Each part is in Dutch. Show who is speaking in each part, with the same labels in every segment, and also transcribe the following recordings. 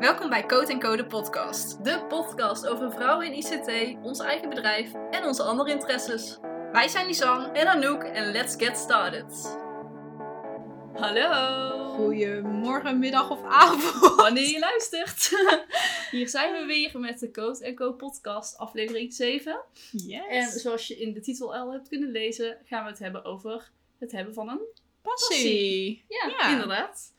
Speaker 1: Welkom bij Code Co, de podcast.
Speaker 2: De podcast over vrouwen in ICT, ons eigen bedrijf en onze andere interesses.
Speaker 1: Wij zijn Lisanne.
Speaker 2: En Anouk en let's get started. Hallo.
Speaker 1: Goedemorgen, middag of avond.
Speaker 2: Wanneer je luistert. Hier zijn we weer met de Code Co podcast aflevering 7.
Speaker 1: Yes.
Speaker 2: En zoals je in de titel al hebt kunnen lezen, gaan we het hebben over het hebben van een...
Speaker 1: passie.
Speaker 2: passie. Ja,
Speaker 1: Ja.
Speaker 2: inderdaad.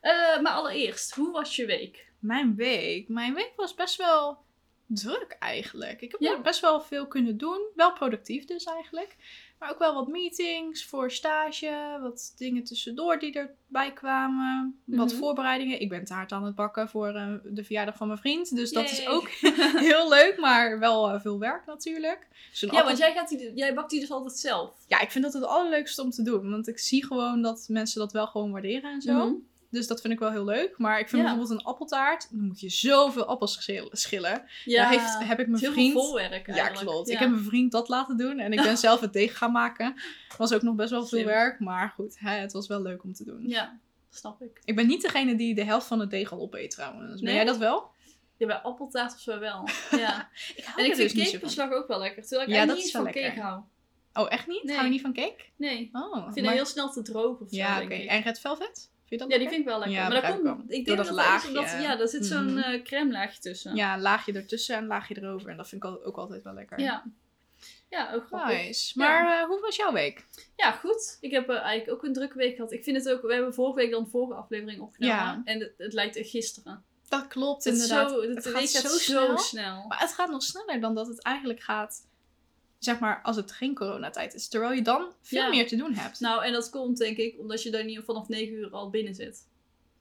Speaker 2: Eh, maar allereerst, hoe was je week?
Speaker 1: Mijn week. Mijn week was best wel druk eigenlijk. Ik heb
Speaker 2: Ja.
Speaker 1: best wel veel kunnen doen. Wel productief dus eigenlijk. Maar ook wel wat meetings voor stage. Wat dingen tussendoor die erbij kwamen. Wat
Speaker 2: Mhm.
Speaker 1: voorbereidingen. Ik ben taart aan het bakken voor eh, de verjaardag van mijn vriend. Dus dat is
Speaker 2: Yay.
Speaker 1: ook heel leuk. Maar wel eh, veel werk natuurlijk. Dus een
Speaker 2: Ja, want jij, gaat die, jij bakt die dus altijd zelf.
Speaker 1: Ja, ik vind dat het allerleukste om te doen. Want ik zie gewoon dat mensen dat wel gewoon waarderen en zo.
Speaker 2: Mhm.
Speaker 1: Dus dat vind ik wel heel leuk. Maar ik vind
Speaker 2: Ja.
Speaker 1: bijvoorbeeld een appeltaart. Dan moet je zoveel appels schil- schillen. Ja. heeft, heb ik mijn
Speaker 2: Het is heel
Speaker 1: vriend.
Speaker 2: veel volwerk
Speaker 1: ja,
Speaker 2: eigenlijk.
Speaker 1: klopt.
Speaker 2: Ja.
Speaker 1: Ik heb mijn vriend dat laten doen. En ik ben zelf het deeg gaan maken. Was ook nog best wel veel
Speaker 2: Slim.
Speaker 1: werk. Maar goed, hè, het was wel leuk om te doen.
Speaker 2: Ja, snap ik.
Speaker 1: Ik ben niet degene die de helft van het deeg al opeet trouwens. Ben
Speaker 2: Nee?
Speaker 1: jij dat wel?
Speaker 2: Ja, bij appeltaart of zo wel. Ja.
Speaker 1: Ik dus
Speaker 2: en ik vind
Speaker 1: niet zo van.
Speaker 2: cakebeslag ook wel lekker. Terwijl ik
Speaker 1: Ja,
Speaker 2: eigenlijk
Speaker 1: dat
Speaker 2: niet
Speaker 1: is
Speaker 2: van
Speaker 1: wel
Speaker 2: cake
Speaker 1: lekker.
Speaker 2: hou.
Speaker 1: Oh, echt niet?
Speaker 2: Nee.
Speaker 1: Hou je niet van cake?
Speaker 2: Nee. Ik
Speaker 1: Oh.
Speaker 2: vind
Speaker 1: maar-
Speaker 2: het heel snel te droog of zo,
Speaker 1: Ja, oké.
Speaker 2: denk ik.
Speaker 1: En Red Velvet? Vind je dat
Speaker 2: Ja, die
Speaker 1: lekker?
Speaker 2: vind ik wel lekker.
Speaker 1: Ja,
Speaker 2: maar dat
Speaker 1: begrijp ik
Speaker 2: komt,
Speaker 1: wel.
Speaker 2: ik denk
Speaker 1: Door
Speaker 2: dat,
Speaker 1: dat
Speaker 2: dat is
Speaker 1: laagje.
Speaker 2: omdat- ja, daar zit zo'n
Speaker 1: Mhm.
Speaker 2: eh crème laagje tussen.
Speaker 1: Ja, een laagje ertussen en een laagje erover. En dat vind ik al- ook altijd wel lekker.
Speaker 2: Ja, ja ook grappig.
Speaker 1: Nice. Maar eh, hoe was jouw week?
Speaker 2: Ja, goed. Ik heb eh, eigenlijk ook een drukke week gehad. Ik vind het ook... We hebben vorige week dan de vorige aflevering opgenomen.
Speaker 1: Ja.
Speaker 2: En het, het lijkt echt gisteren.
Speaker 1: Dat klopt
Speaker 2: Het, is
Speaker 1: inderdaad.
Speaker 2: zo, het,
Speaker 1: Het
Speaker 2: de
Speaker 1: gaat
Speaker 2: week
Speaker 1: zo
Speaker 2: gaat zo
Speaker 1: snel.
Speaker 2: snel.
Speaker 1: Maar het gaat nog sneller dan dat het eigenlijk gaat, zeg maar, als het geen coronatijd is. Terwijl je dan veel
Speaker 2: Ja.
Speaker 1: meer te doen hebt.
Speaker 2: Nou, en dat komt denk ik omdat je daar niet vanaf 9 uur al binnen zit.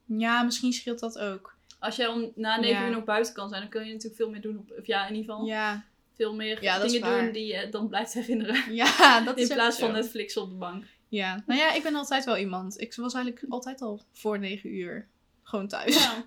Speaker 1: Ja, misschien scheelt dat ook.
Speaker 2: Als jij om na negen
Speaker 1: Ja.
Speaker 2: uur nog buiten kan zijn, dan kun je natuurlijk veel meer doen. Op, of ja, in ieder geval
Speaker 1: Ja,
Speaker 2: veel meer
Speaker 1: Ja, dat is
Speaker 2: dingen
Speaker 1: waar.
Speaker 2: doen die je dan blijft herinneren.
Speaker 1: ja dat is
Speaker 2: in plaats
Speaker 1: ook zo.
Speaker 2: van Netflix op de bank.
Speaker 1: Ja, nou ja, ik ben altijd wel iemand. Ik was eigenlijk altijd al voor negen uur gewoon thuis. Ja.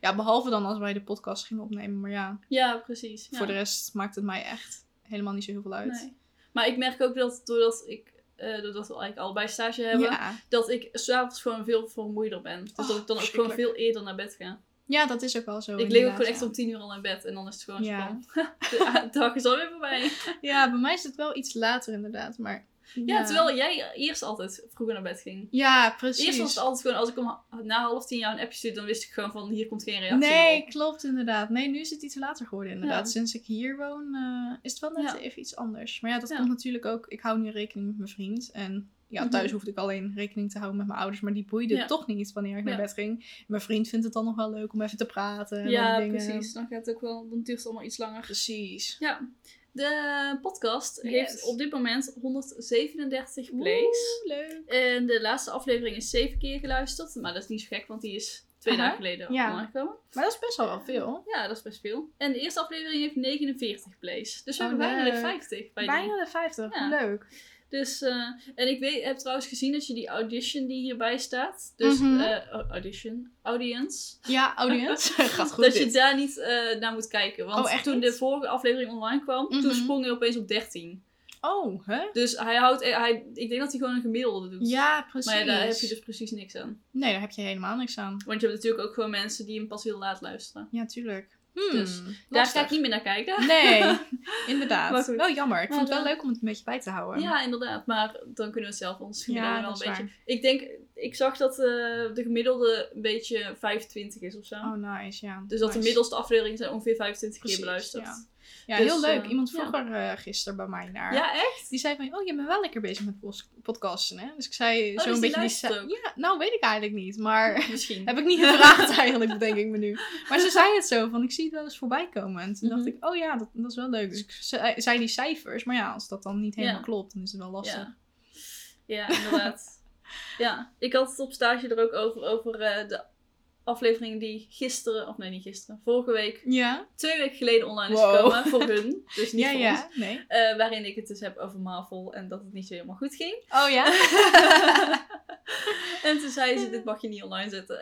Speaker 2: Ja,
Speaker 1: behalve dan als wij de podcast gingen opnemen. Maar ja,
Speaker 2: ja precies. Ja.
Speaker 1: voor de rest maakt het mij echt helemaal niet zo heel veel uit.
Speaker 2: Nee. Maar ik merk ook dat doordat ik eh, doordat we eigenlijk allebei stage hebben,
Speaker 1: Ja.
Speaker 2: dat ik s'avonds gewoon veel vermoeider ben. Dus dat ik
Speaker 1: Oh,
Speaker 2: dan ook gewoon
Speaker 1: verschrikkelijk.
Speaker 2: veel eerder naar bed ga.
Speaker 1: ja, dat is ook wel zo.
Speaker 2: ik lig ook
Speaker 1: inderdaad,
Speaker 2: gewoon echt
Speaker 1: ja.
Speaker 2: om tien uur al naar bed en dan is het gewoon
Speaker 1: Ja.
Speaker 2: spannend. de dag is alweer voorbij.
Speaker 1: Ja, bij mij is het wel iets later inderdaad, maar...
Speaker 2: Ja, terwijl jij eerst altijd vroeger naar bed ging.
Speaker 1: Ja, precies.
Speaker 2: Eerst was het altijd gewoon, als ik om ha- na half tien jaar een appje stuurde, dan wist ik gewoon van, hier komt geen reactie
Speaker 1: Nee,
Speaker 2: op.
Speaker 1: klopt inderdaad. Nee, nu is het iets later geworden inderdaad.
Speaker 2: Ja.
Speaker 1: Sinds ik hier woon eh, is het wel net
Speaker 2: Ja.
Speaker 1: even iets anders. Maar ja, dat
Speaker 2: Ja.
Speaker 1: komt natuurlijk ook... Ik hou nu rekening met mijn vriend en... Ja, thuis
Speaker 2: Mhm.
Speaker 1: hoefde ik alleen rekening te houden met mijn ouders, maar die boeide
Speaker 2: Ja.
Speaker 1: toch niet wanneer ik naar
Speaker 2: Ja.
Speaker 1: bed ging. Mijn vriend vindt het dan nog wel leuk om even te praten. en al
Speaker 2: Ja,
Speaker 1: die dingen.
Speaker 2: precies. Dan gaat het ook wel, dan duurt het allemaal iets langer.
Speaker 1: Precies.
Speaker 2: Ja. De podcast
Speaker 1: Yes.
Speaker 2: heeft op dit moment 137 plays.
Speaker 1: Oeh, leuk.
Speaker 2: En de laatste aflevering is zeven keer geluisterd. Maar dat is niet zo gek, want die is twee
Speaker 1: Aha.
Speaker 2: dagen geleden
Speaker 1: Ja.
Speaker 2: online gekomen.
Speaker 1: Maar dat is best wel wel veel.
Speaker 2: Ja, dat is best veel. En de eerste aflevering heeft 49 plays. Dus we
Speaker 1: Oh,
Speaker 2: hebben bijna de
Speaker 1: leuk.
Speaker 2: 50 bij die.
Speaker 1: Bijna de 50.
Speaker 2: Ja.
Speaker 1: Leuk.
Speaker 2: Dus, eh, en ik weet, heb trouwens gezien dat je die audition die hierbij staat, dus
Speaker 1: Mhm.
Speaker 2: eh, au- audition, audience,
Speaker 1: Ja, audience. Gaat goed
Speaker 2: dat
Speaker 1: dit.
Speaker 2: je daar niet eh, naar moet kijken. Want
Speaker 1: Oh, echt
Speaker 2: toen
Speaker 1: niet?
Speaker 2: de vorige aflevering online kwam,
Speaker 1: Mhm.
Speaker 2: toen sprong hij opeens op 13.
Speaker 1: Oh, hè?
Speaker 2: Dus hij houdt, hij, ik denk dat hij gewoon een gemiddelde doet.
Speaker 1: Ja, precies.
Speaker 2: Maar ja, daar heb je dus precies niks aan.
Speaker 1: Nee, daar heb je helemaal niks aan.
Speaker 2: Want je hebt natuurlijk ook gewoon mensen die hem pas heel laat luisteren.
Speaker 1: Ja, tuurlijk. Hmm,
Speaker 2: Dus Daar
Speaker 1: lastig.
Speaker 2: ga ik niet meer naar kijken.
Speaker 1: Nee, inderdaad.
Speaker 2: Maar goed.
Speaker 1: Wel jammer. Ik
Speaker 2: Maar
Speaker 1: vond het wel
Speaker 2: dan-
Speaker 1: leuk om het een beetje bij te houden.
Speaker 2: Ja, inderdaad. Maar dan kunnen we het zelf ons
Speaker 1: Ja,
Speaker 2: gemiddelde wel
Speaker 1: dat
Speaker 2: een
Speaker 1: is
Speaker 2: beetje... Ik denk, ik zag dat eh, de gemiddelde een beetje 25 is of zo.
Speaker 1: Oh, nice, ja.
Speaker 2: Dus dat de
Speaker 1: Nice.
Speaker 2: middelste afleveringen zijn ongeveer 25
Speaker 1: Precies,
Speaker 2: keer beluisterd.
Speaker 1: ja.
Speaker 2: Ja,
Speaker 1: Ja,
Speaker 2: dus,
Speaker 1: heel leuk.
Speaker 2: eh,
Speaker 1: Iemand
Speaker 2: ja.
Speaker 1: vroeg er eh, gisteren bij mij naar.
Speaker 2: echt?
Speaker 1: Die zei van, oh, je bent wel lekker bezig met pos- podcasten, hè? Dus ik zei
Speaker 2: dus
Speaker 1: zo'n
Speaker 2: die
Speaker 1: beetje...
Speaker 2: luistert
Speaker 1: sa-
Speaker 2: ook?
Speaker 1: Ja, nou weet ik eigenlijk niet, maar...
Speaker 2: Misschien.
Speaker 1: Heb ik niet gevraagd eigenlijk, bedenk ik me nu. Maar ze zei het zo, van ik zie het wel eens voorbij komen. En toen dacht
Speaker 2: Mhm.
Speaker 1: ik, oh ja, dat, dat is wel leuk. Dus ik zei, zei die cijfers, maar ja, als dat dan niet helemaal
Speaker 2: Ja.
Speaker 1: klopt, dan is het wel lastig.
Speaker 2: Ja. ja, inderdaad. ja, ik had het op stage er ook over, over eh, de aflevering die gisteren, of nee niet gisteren, vorige week,
Speaker 1: Ja?
Speaker 2: twee weken geleden online is
Speaker 1: Wow.
Speaker 2: gekomen voor hun. Dus niet
Speaker 1: Ja,
Speaker 2: voor ons.
Speaker 1: ja. Nee.
Speaker 2: Eh, waarin ik het dus heb over Marvel en dat het niet zo helemaal goed ging.
Speaker 1: Oh ja?
Speaker 2: en toen zei ze, dit mag je niet online zetten.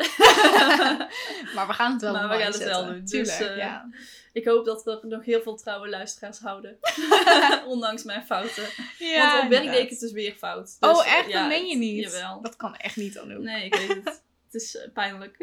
Speaker 1: maar we gaan het wel
Speaker 2: Maar we gaan
Speaker 1: online
Speaker 2: het wel
Speaker 1: zetten.
Speaker 2: doen, dus,
Speaker 1: Tuurlijk,
Speaker 2: eh,
Speaker 1: ja.
Speaker 2: ik hoop dat er nog heel veel trouwe luisteraars houden. Ondanks mijn fouten. Want op werk deed ik het dus weer fout. Dus,
Speaker 1: Oh echt?
Speaker 2: ja,
Speaker 1: dat meen je
Speaker 2: het-
Speaker 1: niet?
Speaker 2: Jawel.
Speaker 1: Dat kan echt niet, Anouk.
Speaker 2: Nee, ik weet het. Het is eh, pijnlijk.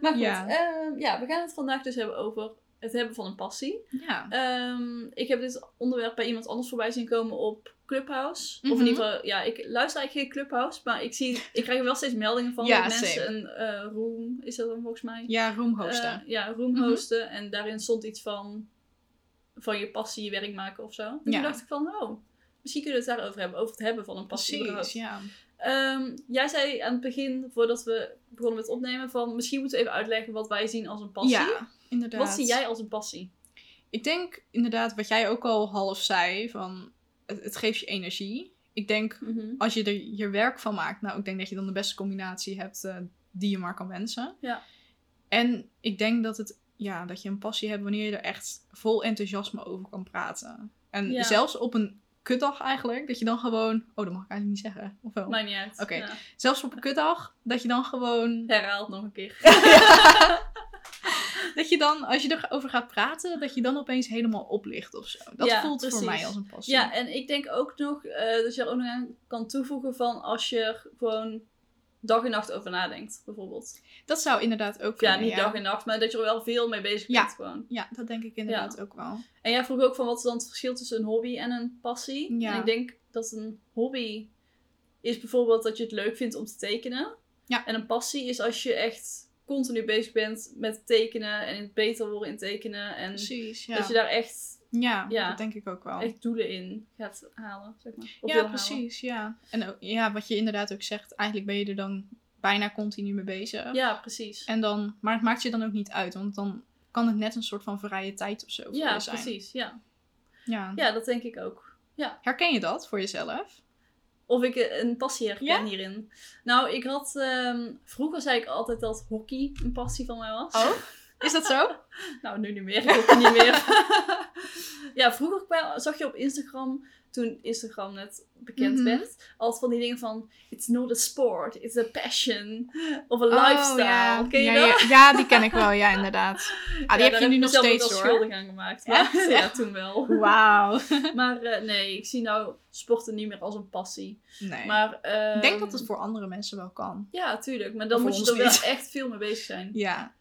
Speaker 2: maar goed,
Speaker 1: ja.
Speaker 2: ehm, ja, we gaan het vandaag dus hebben over het hebben van een passie.
Speaker 1: eh, ja.
Speaker 2: Ehm, ik heb dit onderwerp bij iemand anders voorbij zien komen op Clubhouse. Of
Speaker 1: Mhm.
Speaker 2: in ieder geval, ja, ik luister eigenlijk geen Clubhouse, maar ik, zie, ik krijg er wel steeds meldingen van
Speaker 1: Ja,
Speaker 2: dat mensen
Speaker 1: same.
Speaker 2: een eh, room, is dat dan volgens mij?
Speaker 1: Ja, room hosten.
Speaker 2: Eh, ja, room
Speaker 1: Mhm.
Speaker 2: hosten. En daarin stond iets van, van je passie je werk maken of zo. En
Speaker 1: Ja.
Speaker 2: toen dacht ik van, oh, misschien kunnen we het daarover hebben. Over het hebben van een passie.
Speaker 1: Precies,
Speaker 2: überhaupt.
Speaker 1: ja.
Speaker 2: Ehm, jij zei aan het begin, voordat we begonnen met opnemen, van misschien moeten we even uitleggen wat wij zien als een passie.
Speaker 1: Ja, inderdaad.
Speaker 2: Wat zie jij als een passie?
Speaker 1: Ik denk inderdaad wat jij ook al half zei, van het, het geeft je energie. Ik denk als je er je werk van maakt, nou, ik denk dat je dan de beste combinatie hebt eh, die je maar kan wensen.
Speaker 2: Ja.
Speaker 1: En ik denk dat het, ja, dat je een passie hebt wanneer je er echt vol enthousiasme over kan praten. En
Speaker 2: Ja.
Speaker 1: zelfs op een kutdag eigenlijk, dat je dan gewoon, oh, dat mag ik eigenlijk niet zeggen, of wel?
Speaker 2: Maakt niet uit.
Speaker 1: Oké.
Speaker 2: Ja.
Speaker 1: Zelfs op een kutdag, dat je dan gewoon,
Speaker 2: Herhaalt nog een keer.
Speaker 1: dat je dan, als je erover gaat praten, dat je dan opeens helemaal oplicht of zo. Dat
Speaker 2: Ja,
Speaker 1: voelt voor
Speaker 2: precies.
Speaker 1: mij als een passie.
Speaker 2: ja, en ik denk ook nog eh, dat je er ook nog aan kan toevoegen van als je er gewoon dag en nacht over nadenkt, bijvoorbeeld.
Speaker 1: Dat zou inderdaad ook
Speaker 2: Ja,
Speaker 1: kunnen,
Speaker 2: niet dag en nacht, maar dat je er wel veel mee bezig
Speaker 1: Ja.
Speaker 2: bent gewoon.
Speaker 1: Ja, dat denk ik inderdaad ook wel.
Speaker 2: En jij vroeg ook van wat is dan het verschil tussen een hobby en een passie?
Speaker 1: Ja.
Speaker 2: En ik denk dat een hobby is bijvoorbeeld dat je het leuk vindt om te tekenen.
Speaker 1: Ja.
Speaker 2: En een passie is als je echt continu bezig bent met tekenen en het beter worden in tekenen. En
Speaker 1: Precies, ja.
Speaker 2: dat je daar echt
Speaker 1: Ja,
Speaker 2: Ja.
Speaker 1: dat denk ik ook wel.
Speaker 2: echt doelen in gaat halen, zeg maar. Of wil
Speaker 1: ja,
Speaker 2: halen.
Speaker 1: precies, ja. En ook- ja, wat je inderdaad ook zegt, eigenlijk ben je er dan bijna continu mee bezig.
Speaker 2: Ja, precies.
Speaker 1: En dan, maar het maakt je dan ook niet uit, want dan kan het net een soort van vrije tijd of zo voor
Speaker 2: ja,
Speaker 1: je zijn.
Speaker 2: precies. Ja.
Speaker 1: Ja.
Speaker 2: ja, dat denk ik ook.
Speaker 1: Herken je dat voor jezelf?
Speaker 2: Of ik eh, een passie herken
Speaker 1: Ja?
Speaker 2: hierin. Nou, ik had... ehm, vroeger zei ik altijd dat hockey een passie van mij was.
Speaker 1: Oh, is dat zo?
Speaker 2: Nou, nu niet meer. Ik hockey niet meer. ja, vroeger kwam- zag je op Instagram, toen Instagram net bekend
Speaker 1: Mhm.
Speaker 2: werd, altijd van die dingen van... It's not a sport, it's a passion. Of a
Speaker 1: Oh,
Speaker 2: lifestyle.
Speaker 1: ja.
Speaker 2: Ken je
Speaker 1: ja,
Speaker 2: dat?
Speaker 1: Ja, ja, die ken ik wel, ja, inderdaad. Ah, die
Speaker 2: Ja,
Speaker 1: heb
Speaker 2: daar
Speaker 1: je nu nog
Speaker 2: mezelf ook
Speaker 1: steeds
Speaker 2: wel
Speaker 1: hoor.
Speaker 2: schuldig aan gemaakt.
Speaker 1: Echt?
Speaker 2: Maar, ja, toen wel.
Speaker 1: Wauw.
Speaker 2: Maar eh, nee, ik zie nou sporten niet meer als een passie.
Speaker 1: Nee.
Speaker 2: Maar, ehm,
Speaker 1: ik denk dat het voor andere mensen wel kan.
Speaker 2: Ja, tuurlijk. Maar dan
Speaker 1: Voor
Speaker 2: moet je
Speaker 1: ons
Speaker 2: er wel
Speaker 1: niet.
Speaker 2: echt veel mee bezig zijn.
Speaker 1: Ja.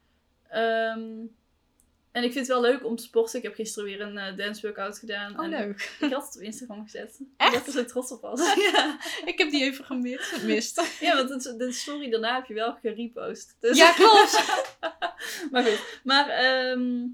Speaker 2: Ehm, en ik vind het wel leuk om te sporten. Ik heb gisteren weer een eh, dance workout gedaan.
Speaker 1: Oh,
Speaker 2: en
Speaker 1: leuk.
Speaker 2: Ik had het op Instagram gezet.
Speaker 1: Echt?
Speaker 2: Dat is er trots op was. ja.
Speaker 1: Ik heb die even gemist. gemist.
Speaker 2: ja, want het- de story daarna heb je wel gerepost. Dus...
Speaker 1: Ja, klopt.
Speaker 2: maar goed. Maar ehm,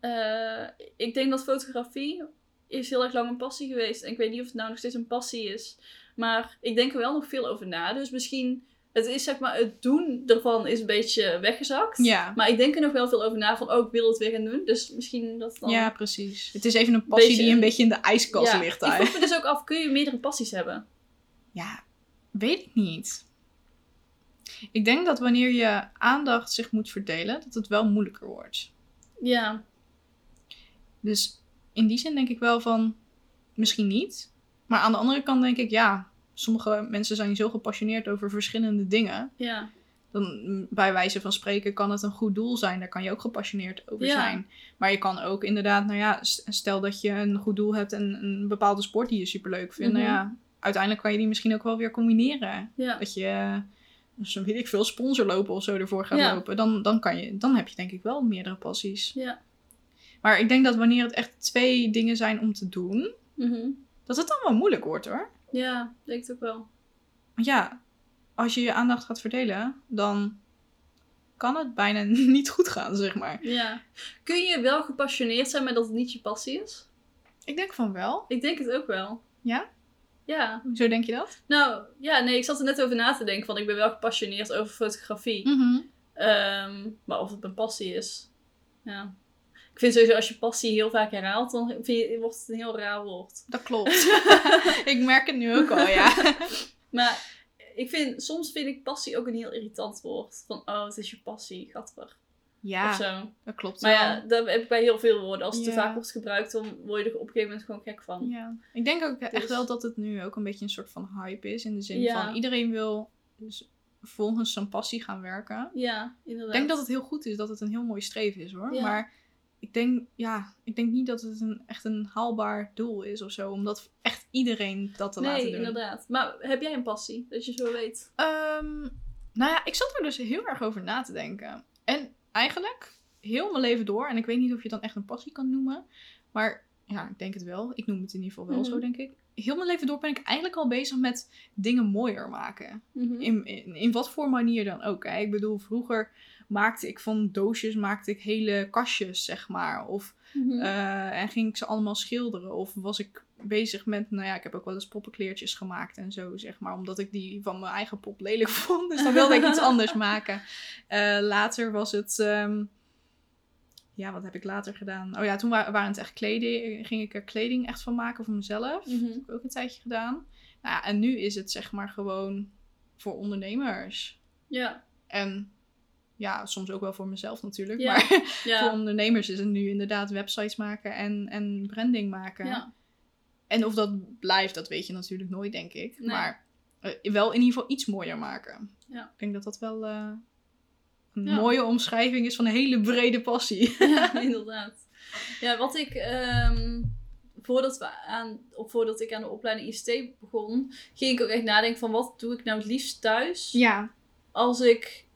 Speaker 2: eh, ik denk dat fotografie is heel erg lang een passie geweest. En ik weet niet of het nou nog steeds een passie is. Maar ik denk er wel nog veel over na. Dus misschien, het is zeg maar, het doen ervan is een beetje weggezakt.
Speaker 1: Ja.
Speaker 2: Maar ik denk er nog wel veel over na van, oh, ik wil het weer gaan doen. Dus misschien dat dan...
Speaker 1: Ja, precies. Het is even een passie
Speaker 2: Beetje-
Speaker 1: die een beetje in de ijskast
Speaker 2: Ja,
Speaker 1: ligt
Speaker 2: Ik
Speaker 1: eigenlijk.
Speaker 2: vroeg me dus ook af, kun je meerdere passies hebben?
Speaker 1: Ja, weet ik niet. Ik denk dat wanneer je aandacht zich moet verdelen, dat het wel moeilijker wordt.
Speaker 2: Ja.
Speaker 1: Dus in die zin denk ik wel van, misschien niet. Maar aan de andere kant denk ik, ja, sommige mensen zijn zo gepassioneerd over verschillende dingen.
Speaker 2: Ja.
Speaker 1: Dan mm, bij wijze van spreken kan het een goed doel zijn. Daar kan je ook gepassioneerd over
Speaker 2: Ja.
Speaker 1: zijn. Maar je kan ook inderdaad, nou ja, s- stel dat je een goed doel hebt en een bepaalde sport die je superleuk vindt.
Speaker 2: Mhm.
Speaker 1: Nou ja, uiteindelijk kan je die misschien ook wel weer combineren.
Speaker 2: Ja.
Speaker 1: Dat je, zo weet ik veel, sponsor lopen of zo ervoor gaat
Speaker 2: Ja.
Speaker 1: lopen. Dan, dan, kan je, dan heb je denk ik wel meerdere passies.
Speaker 2: Ja.
Speaker 1: Maar ik denk dat wanneer het echt twee dingen zijn om te doen,
Speaker 2: Mhm.
Speaker 1: dat het dan wel moeilijk wordt hoor.
Speaker 2: Ja, ik denk het ook wel.
Speaker 1: Want ja, als je je aandacht gaat verdelen, dan kan het bijna niet goed gaan, zeg maar.
Speaker 2: Ja. Kun je wel gepassioneerd zijn, maar dat het niet je passie is?
Speaker 1: Ik denk van wel.
Speaker 2: Ik denk het ook wel.
Speaker 1: Ja?
Speaker 2: Ja.
Speaker 1: Zo denk je dat?
Speaker 2: Nou, ja, nee, ik zat er net over na te denken, want ik ben wel gepassioneerd over fotografie.
Speaker 1: Mm. Mhm.
Speaker 2: Ehm, maar of het mijn passie is, ja. Ik vind sowieso, als je passie heel vaak herhaalt, dan vind je, wordt het een heel raar woord.
Speaker 1: Dat klopt. ik merk het nu ook al, ja.
Speaker 2: Maar ik vind, soms vind ik passie ook een heel irritant woord. Van, oh, het is je passie, gatver. Of
Speaker 1: Ja,
Speaker 2: zo.
Speaker 1: dat klopt
Speaker 2: Maar
Speaker 1: wel.
Speaker 2: ja, dat heb ik bij heel veel woorden. Als het
Speaker 1: Ja.
Speaker 2: te vaak wordt gebruikt, dan word je er op een gegeven moment gewoon gek van.
Speaker 1: Ja, ik denk ook echt
Speaker 2: Dus-
Speaker 1: wel dat het nu ook een beetje een soort van hype is. In de zin
Speaker 2: Ja.
Speaker 1: van iedereen wil dus volgens zijn passie gaan werken.
Speaker 2: Ja, inderdaad.
Speaker 1: Ik denk dat het heel goed is, dat het een heel mooi streven is hoor.
Speaker 2: Ja.
Speaker 1: Maar ik denk, ja, ik denk niet dat het een, echt een haalbaar doel is of zo. Om dat echt iedereen dat te
Speaker 2: nee,
Speaker 1: laten doen.
Speaker 2: inderdaad. Maar heb jij een passie? Dat je zo weet.
Speaker 1: Ehm, Nou ja, ik zat er dus heel erg over na te denken. En eigenlijk, heel mijn leven door, en ik weet niet of je het dan echt een passie kan noemen, maar ja, ik denk het wel. Ik noem het in ieder geval wel
Speaker 2: Mhm.
Speaker 1: zo, denk ik. Heel mijn leven door ben ik eigenlijk al bezig met dingen mooier maken.
Speaker 2: Mhm.
Speaker 1: In, in, in wat voor manier dan ook. Hè. Ik bedoel, vroeger maakte ik van doosjes maakte ik hele kastjes, zeg maar. Of
Speaker 2: Mhm.
Speaker 1: eh, en ging ik ze allemaal schilderen? Of was ik bezig met, nou ja, ik heb ook wel eens poppenkleertjes gemaakt en zo, zeg maar. Omdat ik die van mijn eigen pop lelijk vond. Dus dan wilde ik iets anders maken. Eh, later was het, ehm, ja, wat heb ik later gedaan? Oh ja, toen wa- waren het echt kleding, ging ik er kleding echt van maken voor mezelf.
Speaker 2: Mhm.
Speaker 1: Dat heb ik ook een tijdje gedaan. Nou ja, en nu is het zeg maar gewoon voor ondernemers.
Speaker 2: Ja.
Speaker 1: En ja, soms ook wel voor mezelf natuurlijk.
Speaker 2: Ja.
Speaker 1: Maar voor
Speaker 2: Ja.
Speaker 1: ondernemers is het nu inderdaad websites maken en, en branding maken.
Speaker 2: Ja.
Speaker 1: En of dat blijft, dat weet je natuurlijk nooit, denk ik.
Speaker 2: Nee.
Speaker 1: Maar eh, wel in ieder geval iets mooier maken.
Speaker 2: Ja.
Speaker 1: Ik denk dat dat wel eh, een
Speaker 2: Ja.
Speaker 1: mooie omschrijving is van een hele brede passie.
Speaker 2: ja, inderdaad. Ja, wat ik ehm, voordat, we aan, of voordat ik aan de opleiding ICT begon, ging ik ook echt nadenken van wat doe ik nou het liefst thuis?
Speaker 1: Ja,
Speaker 2: Als ik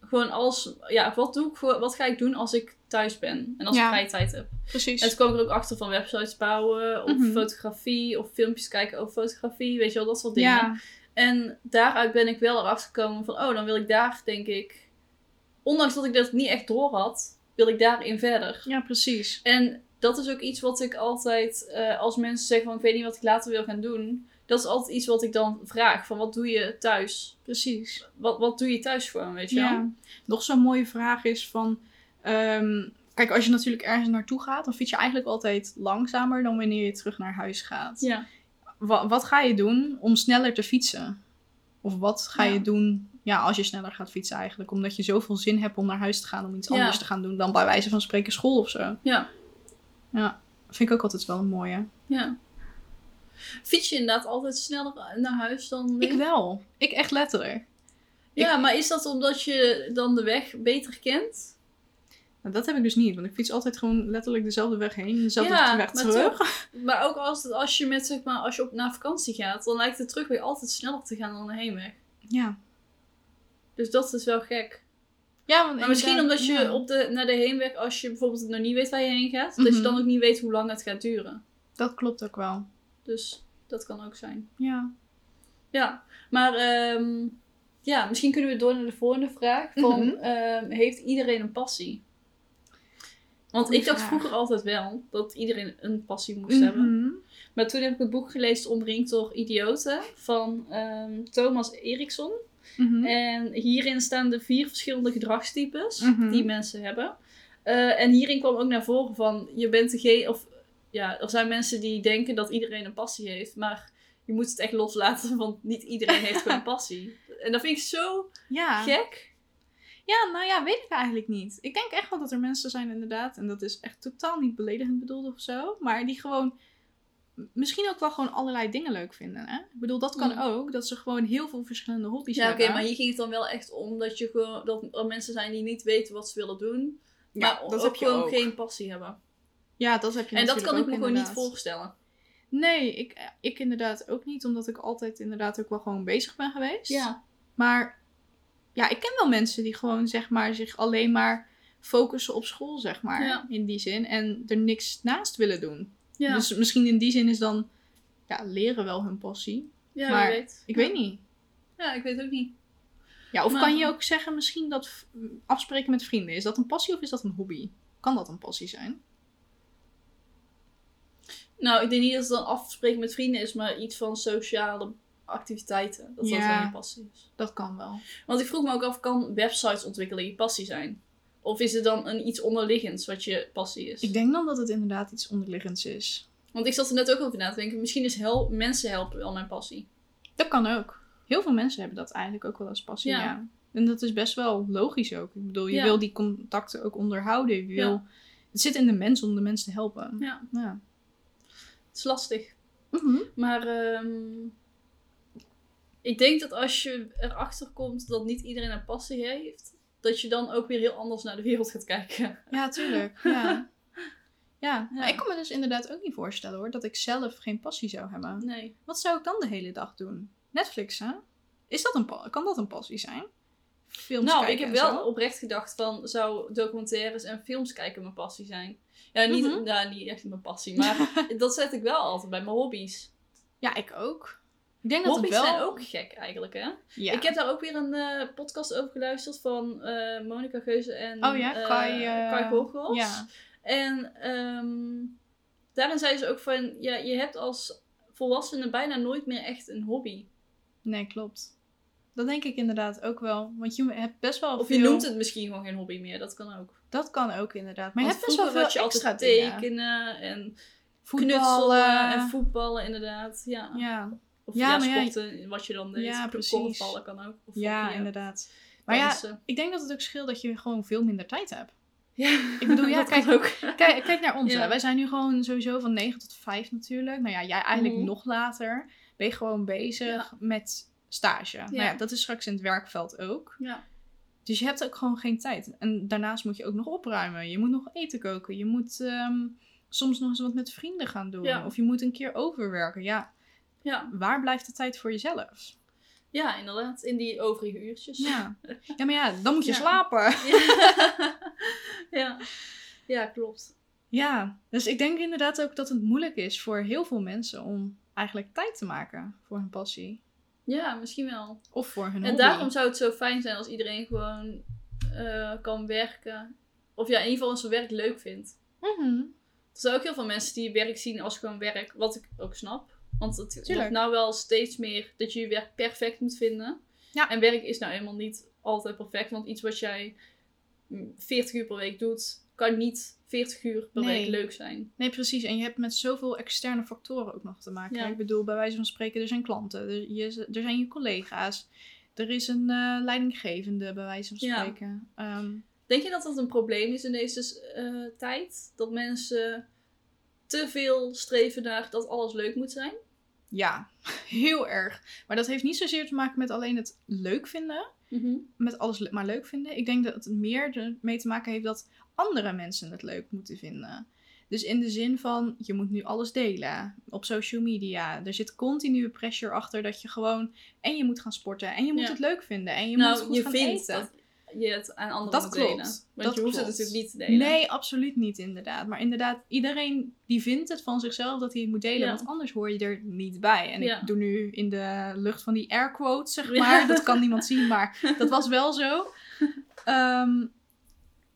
Speaker 2: gewoon als, ja, wat doe ik voor, wat ga ik doen als ik thuis ben en als
Speaker 1: Ja.
Speaker 2: ik vrije tijd heb?
Speaker 1: precies.
Speaker 2: En toen kwam ik er ook achter van websites bouwen of
Speaker 1: Mhm.
Speaker 2: fotografie of filmpjes kijken over fotografie, weet je wel, dat soort dingen.
Speaker 1: ja.
Speaker 2: En daaruit ben ik wel erachter gekomen van, oh, dan wil ik daar, denk ik, ondanks dat ik dat niet echt door had, wil ik daarin verder.
Speaker 1: ja, precies.
Speaker 2: En dat is ook iets wat ik altijd, eh, als mensen zeggen van, ik weet niet wat ik later wil gaan doen, dat is altijd iets wat ik dan vraag, van wat doe je thuis?
Speaker 1: Precies.
Speaker 2: Wat, wat doe je thuis gewoon, weet je wel?
Speaker 1: Ja. Nog zo'n mooie vraag is van... ehm, kijk, als je natuurlijk ergens naartoe gaat, dan fiets je eigenlijk altijd langzamer dan wanneer je terug naar huis gaat.
Speaker 2: Ja.
Speaker 1: Wa- wat ga je doen om sneller te fietsen? Of wat ga
Speaker 2: Ja.
Speaker 1: je doen ja, als je sneller gaat fietsen eigenlijk? Omdat je zoveel zin hebt om naar huis te gaan, om iets
Speaker 2: Ja.
Speaker 1: anders te gaan doen dan bij wijze van spreken school of zo.
Speaker 2: Ja.
Speaker 1: Ja, vind ik ook altijd wel een mooie.
Speaker 2: ja. Fiets je inderdaad altijd sneller naar huis dan...
Speaker 1: Ik wel. Ik echt letterlijk.
Speaker 2: Ja, maar is dat omdat je dan de weg beter kent?
Speaker 1: Nou, dat heb ik dus niet, want ik fiets altijd gewoon letterlijk dezelfde weg heen, dezelfde
Speaker 2: Ja,
Speaker 1: weg
Speaker 2: maar
Speaker 1: terug.
Speaker 2: Maar ook als, als je met, zeg maar, als je op, naar vakantie gaat, dan lijkt de terugweg altijd sneller te gaan dan de heenweg.
Speaker 1: Ja.
Speaker 2: Dus dat is wel gek.
Speaker 1: Ja, want
Speaker 2: Maar misschien
Speaker 1: inderdaad,
Speaker 2: omdat je
Speaker 1: ja,
Speaker 2: op de, naar de heenweg, als je bijvoorbeeld nog niet weet waar je heen gaat, dat je
Speaker 1: Mhm.
Speaker 2: dan ook niet weet hoe lang het gaat duren.
Speaker 1: Dat klopt ook wel.
Speaker 2: Dus dat kan ook zijn.
Speaker 1: Ja.
Speaker 2: Ja, maar ehm, ja, misschien kunnen we door naar de volgende vraag. Van,
Speaker 1: Mhm.
Speaker 2: ehm, heeft iedereen een passie? Want
Speaker 1: Goeie
Speaker 2: ik dacht
Speaker 1: vraag.
Speaker 2: vroeger altijd wel dat iedereen een passie moest hebben.
Speaker 1: Mhm.
Speaker 2: Maar toen heb ik het boek gelezen Omringd door Idioten van ehm, Thomas Eriksson.
Speaker 1: Mhm.
Speaker 2: En hierin staan de vier verschillende gedragstypes
Speaker 1: Mhm.
Speaker 2: die mensen hebben. Eh, en hierin kwam ook naar voren van je bent degene, of ja, er zijn mensen die denken dat iedereen een passie heeft, maar je moet het echt loslaten, want niet iedereen heeft gewoon een passie. En dat vind ik zo Ah.
Speaker 1: Ja.
Speaker 2: gek.
Speaker 1: Ja, nou ja, weet ik eigenlijk niet. Ik denk echt wel dat er mensen zijn inderdaad, en dat is echt totaal niet beledigend bedoeld of zo, maar die gewoon m- misschien ook wel gewoon allerlei dingen leuk vinden. Hè? Ik bedoel, dat kan
Speaker 2: Mm.
Speaker 1: ook, dat ze gewoon heel veel verschillende hobby's
Speaker 2: Ja, oké,
Speaker 1: hebben.
Speaker 2: maar hier ging het dan wel echt om dat, je gewoon, dat er mensen zijn die niet weten wat ze willen doen,
Speaker 1: Ja,
Speaker 2: maar
Speaker 1: dat
Speaker 2: ook
Speaker 1: heb je
Speaker 2: gewoon
Speaker 1: ook.
Speaker 2: geen passie hebben.
Speaker 1: Ja, dat heb je
Speaker 2: en dat kan ik me
Speaker 1: natuurlijk ook
Speaker 2: gewoon niet
Speaker 1: inderdaad.
Speaker 2: voorstellen.
Speaker 1: Nee, ik, ik inderdaad ook niet, omdat ik altijd inderdaad ook wel gewoon bezig ben geweest. Maar ja, ik ken wel mensen die gewoon zeg maar zich alleen maar focussen op school, zeg maar,
Speaker 2: Ja.
Speaker 1: in die zin, en er niks naast willen doen.
Speaker 2: ja.
Speaker 1: Dus misschien in die zin is dan ja, leren wel hun passie.
Speaker 2: Ja,
Speaker 1: Maar
Speaker 2: wie weet.
Speaker 1: Ik weet niet.
Speaker 2: Ja, ik weet ook niet.
Speaker 1: Ja, of
Speaker 2: Maar-
Speaker 1: kan je ook zeggen misschien dat v- afspreken met vrienden, is dat een passie of is dat een hobby? Kan dat een passie zijn?
Speaker 2: Nou, ik denk niet dat het dan afspreken met vrienden is, maar iets van sociale activiteiten. Dat dat
Speaker 1: Ja.
Speaker 2: wel je passie is.
Speaker 1: Dat kan wel.
Speaker 2: Want ik vroeg me ook af, kan websites ontwikkelen je passie zijn? Of is het dan een iets onderliggends wat je passie is?
Speaker 1: Ik denk dan dat het inderdaad iets onderliggends is.
Speaker 2: Want ik zat er net ook over na te denken, misschien is hel mensen helpen wel mijn passie.
Speaker 1: Dat kan ook. Heel veel mensen hebben dat eigenlijk ook wel als passie,
Speaker 2: Ja.
Speaker 1: ja. En dat is best wel logisch ook. Ik bedoel, je
Speaker 2: Ja.
Speaker 1: wil die contacten ook onderhouden. Je wil... Het zit in de mens om de mensen te helpen.
Speaker 2: Ja.
Speaker 1: ja.
Speaker 2: Het is lastig.
Speaker 1: Mhm.
Speaker 2: Maar ehm, ik denk dat als je erachter komt dat niet iedereen een passie heeft, dat je dan ook weer heel anders naar de wereld gaat kijken.
Speaker 1: Ja, tuurlijk. Ja. Ja, maar
Speaker 2: Ja.
Speaker 1: ik kan me dus inderdaad ook niet voorstellen hoor, dat ik zelf geen passie zou hebben.
Speaker 2: Nee.
Speaker 1: Wat zou ik dan de hele dag doen? Netflixen? Is dat een pa- kan dat een passie zijn? films
Speaker 2: nou, ik
Speaker 1: kijken
Speaker 2: heb
Speaker 1: en
Speaker 2: wel
Speaker 1: zo.
Speaker 2: oprecht gedacht van, zou documentaires en films kijken mijn passie zijn? Ja, niet,
Speaker 1: Mhm.
Speaker 2: nou, niet echt mijn passie, maar dat zet ik wel altijd bij mijn hobby's.
Speaker 1: Ja, ik ook. Ik denk dat het
Speaker 2: hobby's
Speaker 1: wel...
Speaker 2: zijn ook gek eigenlijk, hè?
Speaker 1: Ja.
Speaker 2: Ik heb daar ook weer een eh, podcast over geluisterd van eh Monica Geuze en
Speaker 1: Oh ja,
Speaker 2: eh,
Speaker 1: Kai, eh,
Speaker 2: Kai Vogels.
Speaker 1: ja.
Speaker 2: En ehm, daarin zei ze ook van, ja, je hebt als volwassene bijna nooit meer echt een hobby.
Speaker 1: Nee, klopt. Dat denk ik inderdaad ook wel. Want je hebt best wel
Speaker 2: Of je
Speaker 1: veel...
Speaker 2: noemt het misschien gewoon geen hobby meer, dat kan ook.
Speaker 1: Dat kan ook inderdaad. Maar je
Speaker 2: Want
Speaker 1: hebt best wel
Speaker 2: vroeger
Speaker 1: veel
Speaker 2: had je
Speaker 1: extra
Speaker 2: altijd
Speaker 1: dingen.
Speaker 2: tekenen en
Speaker 1: Voetballen.
Speaker 2: knutselen en voetballen inderdaad. Ja.
Speaker 1: Ja,
Speaker 2: Of
Speaker 1: Ja,
Speaker 2: ja,
Speaker 1: maar ja,
Speaker 2: sporten, wat je dan deed.
Speaker 1: ja,
Speaker 2: Korfballen
Speaker 1: precies.
Speaker 2: kan ook. Of
Speaker 1: ja
Speaker 2: hockey,
Speaker 1: inderdaad. Maar ja,
Speaker 2: dansen.
Speaker 1: ik denk dat het ook scheelt dat je gewoon veel minder tijd hebt.
Speaker 2: ja.
Speaker 1: ik bedoel, ja,
Speaker 2: dat kan
Speaker 1: kijk,
Speaker 2: ook.
Speaker 1: Kijk, kijk naar ons.
Speaker 2: Ja.
Speaker 1: hè. Wij zijn nu gewoon sowieso van 9 tot 5 natuurlijk. Nou ja, jij eigenlijk
Speaker 2: Mhm.
Speaker 1: nog later. Ben je gewoon bezig met stage. Nou ja, dat is straks in het werkveld ook.
Speaker 2: Ja.
Speaker 1: Dus je hebt ook gewoon geen tijd. En daarnaast moet je ook nog opruimen. Je moet nog eten koken. Je moet ehm, soms nog eens wat met vrienden gaan doen.
Speaker 2: Ja.
Speaker 1: Of je moet een keer overwerken. Ja,
Speaker 2: Ja.
Speaker 1: waar blijft de tijd voor jezelf?
Speaker 2: ja, inderdaad. In die overige uurtjes.
Speaker 1: Ja, ja maar ja, dan moet je
Speaker 2: Ja.
Speaker 1: slapen.
Speaker 2: ja. ja. Ja, klopt.
Speaker 1: Ja, dus ik denk inderdaad ook dat het moeilijk is voor heel veel mensen om eigenlijk tijd te maken voor hun passie.
Speaker 2: Ja, misschien wel.
Speaker 1: Of voor
Speaker 2: En
Speaker 1: hun hobby.
Speaker 2: daarom zou het zo fijn zijn als iedereen gewoon eh, kan werken. Of ja, in ieder geval zijn werk leuk vindt.
Speaker 1: Mhm.
Speaker 2: Er zijn ook heel veel mensen die werk zien als gewoon werk. Wat ik ook snap. Want het
Speaker 1: Tuurlijk.
Speaker 2: wordt nou wel steeds meer dat je je werk perfect moet vinden.
Speaker 1: Ja.
Speaker 2: En werk is nou eenmaal niet altijd perfect. Want iets wat jij mm, 40 uur per week doet, kan niet 40 uur per
Speaker 1: Nee.
Speaker 2: week leuk zijn.
Speaker 1: Nee, precies. En je hebt met zoveel externe factoren ook nog te maken.
Speaker 2: Ja.
Speaker 1: Ik bedoel, bij wijze van spreken, er zijn klanten, er, je, er zijn je collega's, er is een eh, leidinggevende, bij wijze van
Speaker 2: Ja.
Speaker 1: spreken. Ehm,
Speaker 2: Denk je dat dat een probleem is in deze eh, tijd? Dat mensen te veel streven naar dat alles leuk moet zijn?
Speaker 1: ja, heel erg. Maar dat heeft niet zozeer te maken met alleen het leuk vinden, met alles le- maar leuk vinden. Ik denk dat het meer ermee te maken heeft dat andere mensen het leuk moeten vinden. Dus in de zin van, je moet nu alles delen op social media. Er zit continue pressure achter dat je gewoon... En je moet gaan sporten, en je moet
Speaker 2: Ja.
Speaker 1: het leuk vinden, en je moet het
Speaker 2: nou,
Speaker 1: goed
Speaker 2: je
Speaker 1: gaan
Speaker 2: vindt
Speaker 1: eten.
Speaker 2: dat je het aan anderen
Speaker 1: Dat
Speaker 2: moet
Speaker 1: klopt.
Speaker 2: delen. Want
Speaker 1: Dat
Speaker 2: je hoeft
Speaker 1: klopt.
Speaker 2: het natuurlijk niet te delen.
Speaker 1: Nee, absoluut niet inderdaad. Maar inderdaad, iedereen die vindt het van zichzelf dat hij het moet delen.
Speaker 2: Ja.
Speaker 1: Want anders hoor je er niet bij. En
Speaker 2: Ja.
Speaker 1: ik doe nu in de lucht van die air quotes, zeg
Speaker 2: Ja.
Speaker 1: maar. Dat kan niemand zien, maar dat was wel zo. Ehm,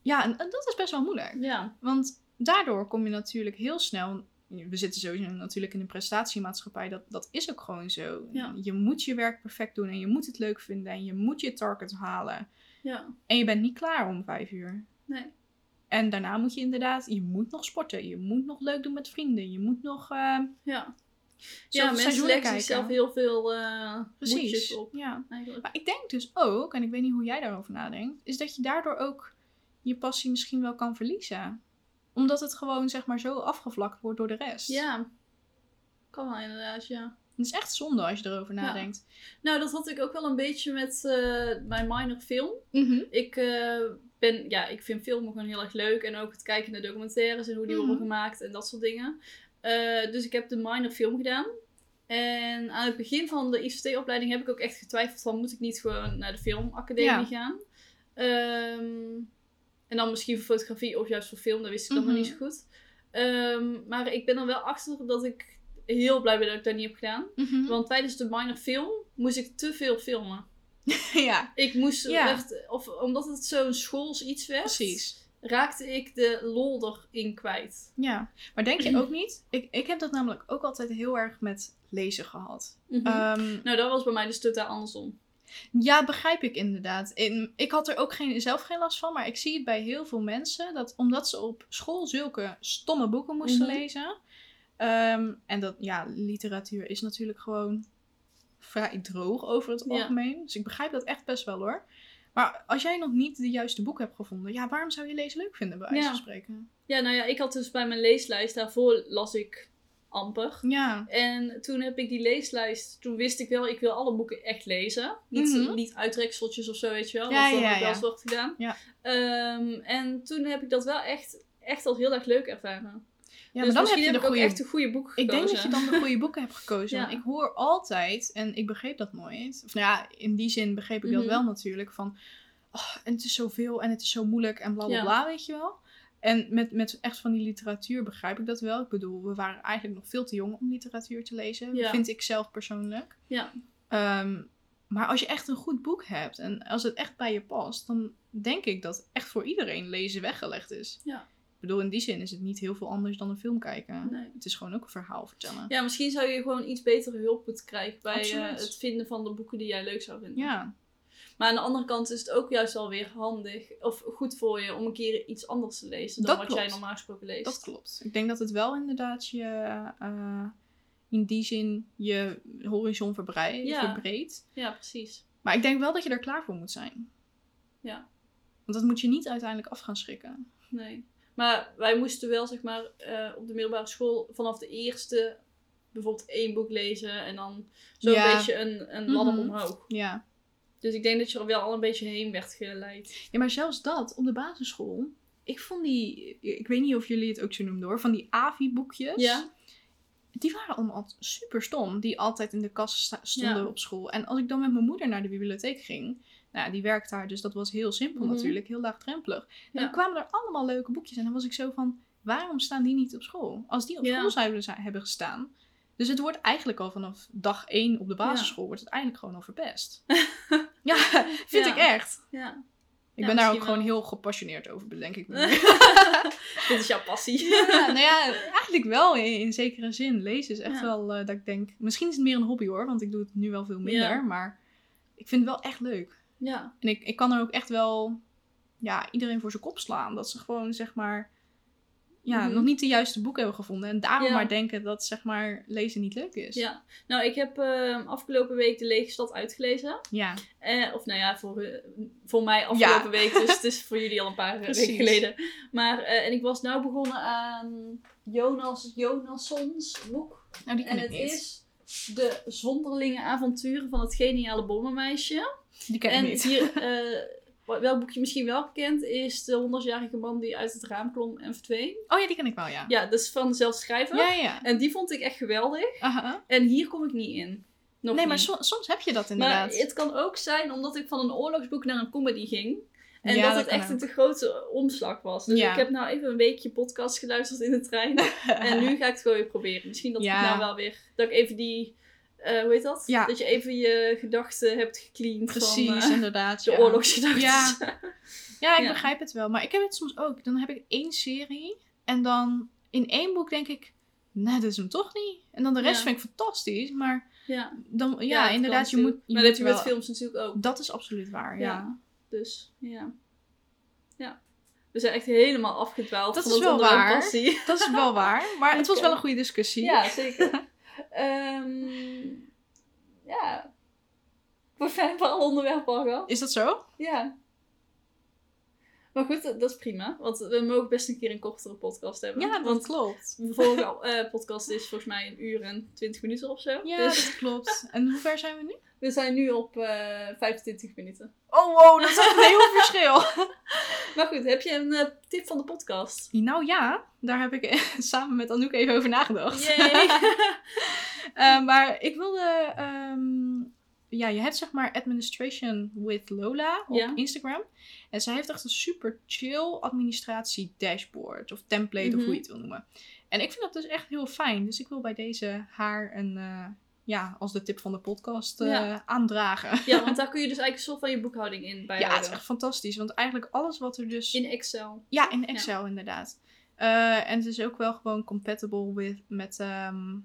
Speaker 1: ja, en, en dat is best wel moeilijk.
Speaker 2: Ja,
Speaker 1: Want daardoor kom je natuurlijk heel snel... We zitten sowieso natuurlijk in een prestatiemaatschappij. Dat, dat is ook gewoon zo.
Speaker 2: Ja.
Speaker 1: Je moet je werk perfect doen en je moet het leuk vinden. En je moet je target halen.
Speaker 2: ja.
Speaker 1: En je bent niet klaar om vijf uur.
Speaker 2: Nee.
Speaker 1: En daarna moet je inderdaad, je moet nog sporten, je moet nog leuk doen met vrienden, je moet nog eh
Speaker 2: Ja, ja
Speaker 1: ja,
Speaker 2: mensen
Speaker 1: seizoenen
Speaker 2: leggen
Speaker 1: kijken.
Speaker 2: zichzelf heel veel eh moedjes
Speaker 1: Precies.
Speaker 2: op.
Speaker 1: Ja.
Speaker 2: Eigenlijk.
Speaker 1: Maar ik denk dus ook, en ik weet niet hoe jij daarover nadenkt, is dat je daardoor ook je passie misschien wel kan verliezen. Omdat het gewoon zeg maar zo afgevlakt wordt door de rest.
Speaker 2: Ja, kan wel inderdaad, ja.
Speaker 1: Het is echt zonde als je erover nadenkt.
Speaker 2: Nou, dat had ik ook wel een beetje met eh, mijn minor film.
Speaker 1: Mhm.
Speaker 2: Ik eh, ben, ja, ik vind filmen gewoon heel erg leuk. En ook het kijken naar documentaires en hoe die worden
Speaker 1: Mhm.
Speaker 2: gemaakt en dat soort dingen. Eh, dus ik heb de minor film gedaan. En aan het begin van de ICT-opleiding heb ik ook echt getwijfeld van... moet ik niet gewoon naar de filmacademie
Speaker 1: Ja.
Speaker 2: gaan? Ehm, en dan misschien voor fotografie of juist voor film. Dat wist ik dan
Speaker 1: Mhm.
Speaker 2: nog niet zo goed. Ehm, maar ik ben er wel achter dat ik heel blij ben dat ik dat niet heb gedaan.
Speaker 1: Mhm.
Speaker 2: Want tijdens de minor film moest ik te veel filmen.
Speaker 1: ja,
Speaker 2: Ik moest
Speaker 1: Ja.
Speaker 2: echt, of omdat het zo'n schools iets werd,
Speaker 1: precies.
Speaker 2: raakte ik de lol erin kwijt.
Speaker 1: Ja. Maar denk je ook niet? Ik, ik heb dat namelijk ook altijd heel erg met lezen gehad. Ehm,
Speaker 2: nou, dat was bij mij dus totaal andersom.
Speaker 1: Ja, begrijp ik inderdaad. In, ik had er ook geen, zelf geen last van, maar ik zie het bij heel veel mensen dat omdat ze op school zulke stomme boeken moesten
Speaker 2: Mhm.
Speaker 1: lezen. ehm, en dat, ja, literatuur is natuurlijk gewoon vrij droog over het
Speaker 2: Ja.
Speaker 1: algemeen. Dus ik begrijp dat echt best wel hoor. Maar als jij nog niet de juiste boek hebt gevonden, ja, waarom zou je lezen leuk vinden, bij wijze
Speaker 2: Ja.
Speaker 1: van spreken?
Speaker 2: Ja, nou ja, ik had dus bij mijn leeslijst, daarvoor las ik amper.
Speaker 1: Ja,
Speaker 2: En toen heb ik die leeslijst, toen wist ik wel, ik wil alle boeken echt lezen. Niet,
Speaker 1: Mhm.
Speaker 2: niet uittrekseltjes of zo, weet je wel.
Speaker 1: Ja,
Speaker 2: Ja, dat
Speaker 1: ja,
Speaker 2: heb ik wel
Speaker 1: ja.
Speaker 2: eens wat gedaan.
Speaker 1: Ja.
Speaker 2: Ehm, en toen heb ik dat wel echt, echt als heel erg leuk ervaren.
Speaker 1: ja
Speaker 2: dus
Speaker 1: maar dan heb
Speaker 2: misschien
Speaker 1: je
Speaker 2: heb
Speaker 1: de
Speaker 2: ik ook
Speaker 1: goede
Speaker 2: echt een goede boek
Speaker 1: Ik
Speaker 2: gekozen.
Speaker 1: denk dat je dan de goede boeken hebt gekozen.
Speaker 2: Ja.
Speaker 1: Want ik hoor altijd, en ik begreep dat nooit. Of nou ja, in die zin begreep ik dat
Speaker 2: Mhm.
Speaker 1: wel natuurlijk. Van oh, en het is zoveel en het is zo moeilijk en bla bla
Speaker 2: Ja.
Speaker 1: bla, weet je wel. En met, met echt van die literatuur begrijp ik dat wel. Ik bedoel, we waren eigenlijk nog veel te jong om literatuur te lezen.
Speaker 2: Ja.
Speaker 1: Vind ik zelf persoonlijk.
Speaker 2: Ja.
Speaker 1: Ehm, maar als je echt een goed boek hebt en als het echt bij je past, dan denk ik dat echt voor iedereen lezen weggelegd is.
Speaker 2: Ja.
Speaker 1: Ik bedoel, in die zin is het niet heel veel anders dan een film kijken.
Speaker 2: Nee.
Speaker 1: Het is gewoon ook een verhaal vertellen.
Speaker 2: Ja, misschien zou je gewoon iets betere hulp moeten krijgen bij eh,
Speaker 1: Absoluut.
Speaker 2: het vinden van de boeken die jij leuk zou vinden.
Speaker 1: ja.
Speaker 2: Maar aan de andere kant is het ook juist wel weer handig of goed voor je om een keer iets anders te lezen dan
Speaker 1: Dat
Speaker 2: wat
Speaker 1: klopt.
Speaker 2: jij normaal gesproken leest.
Speaker 1: Dat klopt. Ik denk dat het wel inderdaad je eh, in die zin je horizon verbrei-
Speaker 2: Ja.
Speaker 1: verbreedt.
Speaker 2: Ja, precies.
Speaker 1: Maar ik denk wel dat je er klaar voor moet zijn.
Speaker 2: Ja.
Speaker 1: Want dat moet je niet uiteindelijk af gaan schrikken.
Speaker 2: Nee. Maar wij moesten wel, zeg maar, eh, op de middelbare school vanaf de eerste bijvoorbeeld één boek lezen en dan zo'n
Speaker 1: Ja.
Speaker 2: beetje een, een ladder
Speaker 1: Mhm.
Speaker 2: omhoog.
Speaker 1: Ja.
Speaker 2: Dus ik denk dat je er wel al een beetje heen werd geleid.
Speaker 1: ja, maar zelfs dat op de basisschool. Ik vond die, ik weet niet of jullie het ook zo noemen hoor, van die AVI-boekjes.
Speaker 2: Ja.
Speaker 1: Die waren allemaal super stom. Die altijd in de kast sta- stonden
Speaker 2: Ja.
Speaker 1: op school. En als ik dan met mijn moeder naar de bibliotheek ging. Nou, die werkt daar, dus dat was heel simpel
Speaker 2: Mhm.
Speaker 1: natuurlijk. Heel laagdrempelig. En
Speaker 2: Ja.
Speaker 1: dan kwamen er allemaal leuke boekjes. En dan was ik zo van, waarom staan die niet op school? Als die op
Speaker 2: Ja.
Speaker 1: school zouden zijn- hebben gestaan. Dus het wordt eigenlijk al vanaf dag één op de basisschool... wordt het eigenlijk gewoon al verpest. ja, vind
Speaker 2: Ja.
Speaker 1: ik echt.
Speaker 2: Ja.
Speaker 1: Ik
Speaker 2: Ja,
Speaker 1: ben daar ook
Speaker 2: misschien
Speaker 1: gewoon
Speaker 2: wel.
Speaker 1: heel gepassioneerd over, bedenk ik me. nu.
Speaker 2: Dit is jouw passie.
Speaker 1: Ja, nou ja, eigenlijk wel in, in zekere zin. Lezen is echt
Speaker 2: Ja.
Speaker 1: wel eh, dat ik denk... Misschien is het meer een hobby hoor, want ik doe het nu wel veel minder.
Speaker 2: Ja.
Speaker 1: Maar ik vind het wel echt leuk.
Speaker 2: Ja.
Speaker 1: En ik, ik kan er ook echt wel ja, iedereen voor zijn kop slaan. Dat ze gewoon zeg maar... Ja,
Speaker 2: Mhm.
Speaker 1: nog niet de juiste boek hebben gevonden. En daarom
Speaker 2: Ja.
Speaker 1: maar denken dat zeg maar lezen niet leuk is.
Speaker 2: Ja, nou ik heb eh, afgelopen week De Lege Stad uitgelezen.
Speaker 1: Ja.
Speaker 2: Eh, of nou ja, voor, eh, voor mij afgelopen
Speaker 1: Ja.
Speaker 2: week, dus het is voor jullie al een paar eh, weken
Speaker 1: Precies.
Speaker 2: geleden. Maar, eh, en ik was nou begonnen aan Jonas Jonassons boek.
Speaker 1: Nou, die ken
Speaker 2: En
Speaker 1: ik
Speaker 2: het
Speaker 1: niet.
Speaker 2: is De Zonderlinge Avonturen van het Geniale Bommenmeisje.
Speaker 1: Die ken
Speaker 2: en
Speaker 1: ik niet.
Speaker 2: hier, eh, wat- welk boek je misschien wel kent, is De 100-jarige man die uit het raam klom en verdween.
Speaker 1: Oh ja, die ken ik wel, ja.
Speaker 2: Ja, dat is van dezelfde schrijver.
Speaker 1: Ja, ja.
Speaker 2: En die vond ik echt geweldig.
Speaker 1: Aha.
Speaker 2: En hier kom ik niet in. Nog
Speaker 1: Nee,
Speaker 2: niet.
Speaker 1: maar so- soms heb je dat
Speaker 2: Maar
Speaker 1: inderdaad.
Speaker 2: het kan ook zijn omdat ik van een oorlogsboek naar een comedy ging. En
Speaker 1: Ja,
Speaker 2: dat,
Speaker 1: dat
Speaker 2: het
Speaker 1: kan
Speaker 2: echt
Speaker 1: ook.
Speaker 2: een te grote omslag was. Dus
Speaker 1: Ja.
Speaker 2: ik heb nou even een weekje podcast geluisterd in de trein. en nu ga ik het gewoon weer proberen. Misschien dat
Speaker 1: Ja.
Speaker 2: ik nou wel weer... Dat ik even die... eh, hoe heet dat?
Speaker 1: Ja.
Speaker 2: Dat je even je gedachten hebt gecleand
Speaker 1: Precies,
Speaker 2: van eh,
Speaker 1: inderdaad.
Speaker 2: de
Speaker 1: ja.
Speaker 2: oorlogsgedachten.
Speaker 1: Ja. Ja, ik
Speaker 2: Ja.
Speaker 1: begrijp het wel. Maar ik heb het soms ook. Dan heb ik één serie. En dan in één boek denk ik... Nou, dat is hem toch niet. En dan de rest
Speaker 2: Ja.
Speaker 1: vind ik fantastisch. Maar
Speaker 2: ja.
Speaker 1: dan, ja,
Speaker 2: dat
Speaker 1: inderdaad, je
Speaker 2: kan
Speaker 1: moet...
Speaker 2: natuurlijk.
Speaker 1: Je
Speaker 2: maar
Speaker 1: moet
Speaker 2: dat heb je met
Speaker 1: wel-
Speaker 2: films natuurlijk ook.
Speaker 1: Dat is absoluut waar, ja.
Speaker 2: Ja. Dus, ja. Ja. We zijn echt helemaal afgedwaald
Speaker 1: Dat
Speaker 2: van
Speaker 1: is
Speaker 2: het
Speaker 1: wel
Speaker 2: onderwerp
Speaker 1: waar.
Speaker 2: passie.
Speaker 1: Dat is wel waar. Maar het was
Speaker 2: Oké.
Speaker 1: wel een goede discussie.
Speaker 2: Ja, zeker. Ehm, ja. We zijn wel onderwerp al gehad.
Speaker 1: Is dat zo?
Speaker 2: Ja. Maar goed, dat dat is prima. Want we mogen best een keer een kortere podcast hebben.
Speaker 1: Ja, dat
Speaker 2: want
Speaker 1: klopt.
Speaker 2: de vorige eh, podcast is volgens mij een uur en twintig minuten of zo.
Speaker 1: Ja,
Speaker 2: Dus
Speaker 1: dat klopt. En hoe ver zijn we nu?
Speaker 2: we zijn nu op eh 25 minuten.
Speaker 1: Oh, wow, dat is echt een heel verschil.
Speaker 2: Maar goed, heb je een eh, tip van de podcast?
Speaker 1: Nou ja, daar heb ik samen met Anouk even over nagedacht.
Speaker 2: Yay!
Speaker 1: Eh, maar ik wilde. ehm, ja, je hebt zeg maar Administration with Lola op
Speaker 2: Ja.
Speaker 1: Instagram. En zij heeft echt een super chill administratie dashboard. Of template,
Speaker 2: Mhm.
Speaker 1: of hoe je het wil noemen. En ik vind dat dus echt heel fijn. Dus ik wil bij deze haar een. eh, ja, als de tip van de podcast eh,
Speaker 2: Ja.
Speaker 1: aandragen.
Speaker 2: ja, want daar kun je dus eigenlijk zo van je boekhouding in
Speaker 1: Ja, het
Speaker 2: bijhouden.
Speaker 1: is echt fantastisch. Want eigenlijk alles wat er dus.
Speaker 2: In Excel.
Speaker 1: Ja, in Excel inderdaad. Eh, en het is ook wel gewoon compatible with, met ehm,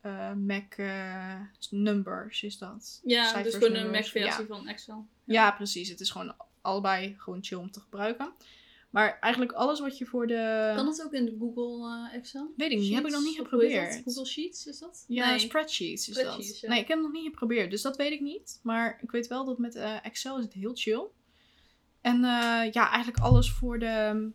Speaker 1: eh, Mac eh, numbers, is dat?
Speaker 2: Ja,
Speaker 1: Cijfers,
Speaker 2: dus gewoon een
Speaker 1: numbers,
Speaker 2: Mac-versie
Speaker 1: Ja.
Speaker 2: van Excel.
Speaker 1: ja, precies. Het is gewoon allebei gewoon chill om te gebruiken. Maar eigenlijk alles wat je voor de...
Speaker 2: Kan dat ook in de Google eh, Excel?
Speaker 1: Weet ik niet, heb ik nog
Speaker 2: Sheets,
Speaker 1: niet
Speaker 2: of hoe heet dat?
Speaker 1: geprobeerd.
Speaker 2: Google Sheets is dat?
Speaker 1: Ja,
Speaker 2: Nee.
Speaker 1: spreadsheets is
Speaker 2: Spreadsheets,
Speaker 1: dat.
Speaker 2: ja.
Speaker 1: Nee, ik heb hem nog niet geprobeerd, dus dat weet ik niet. Maar ik weet wel dat met eh, Excel is het heel chill. En eh, ja, eigenlijk alles voor de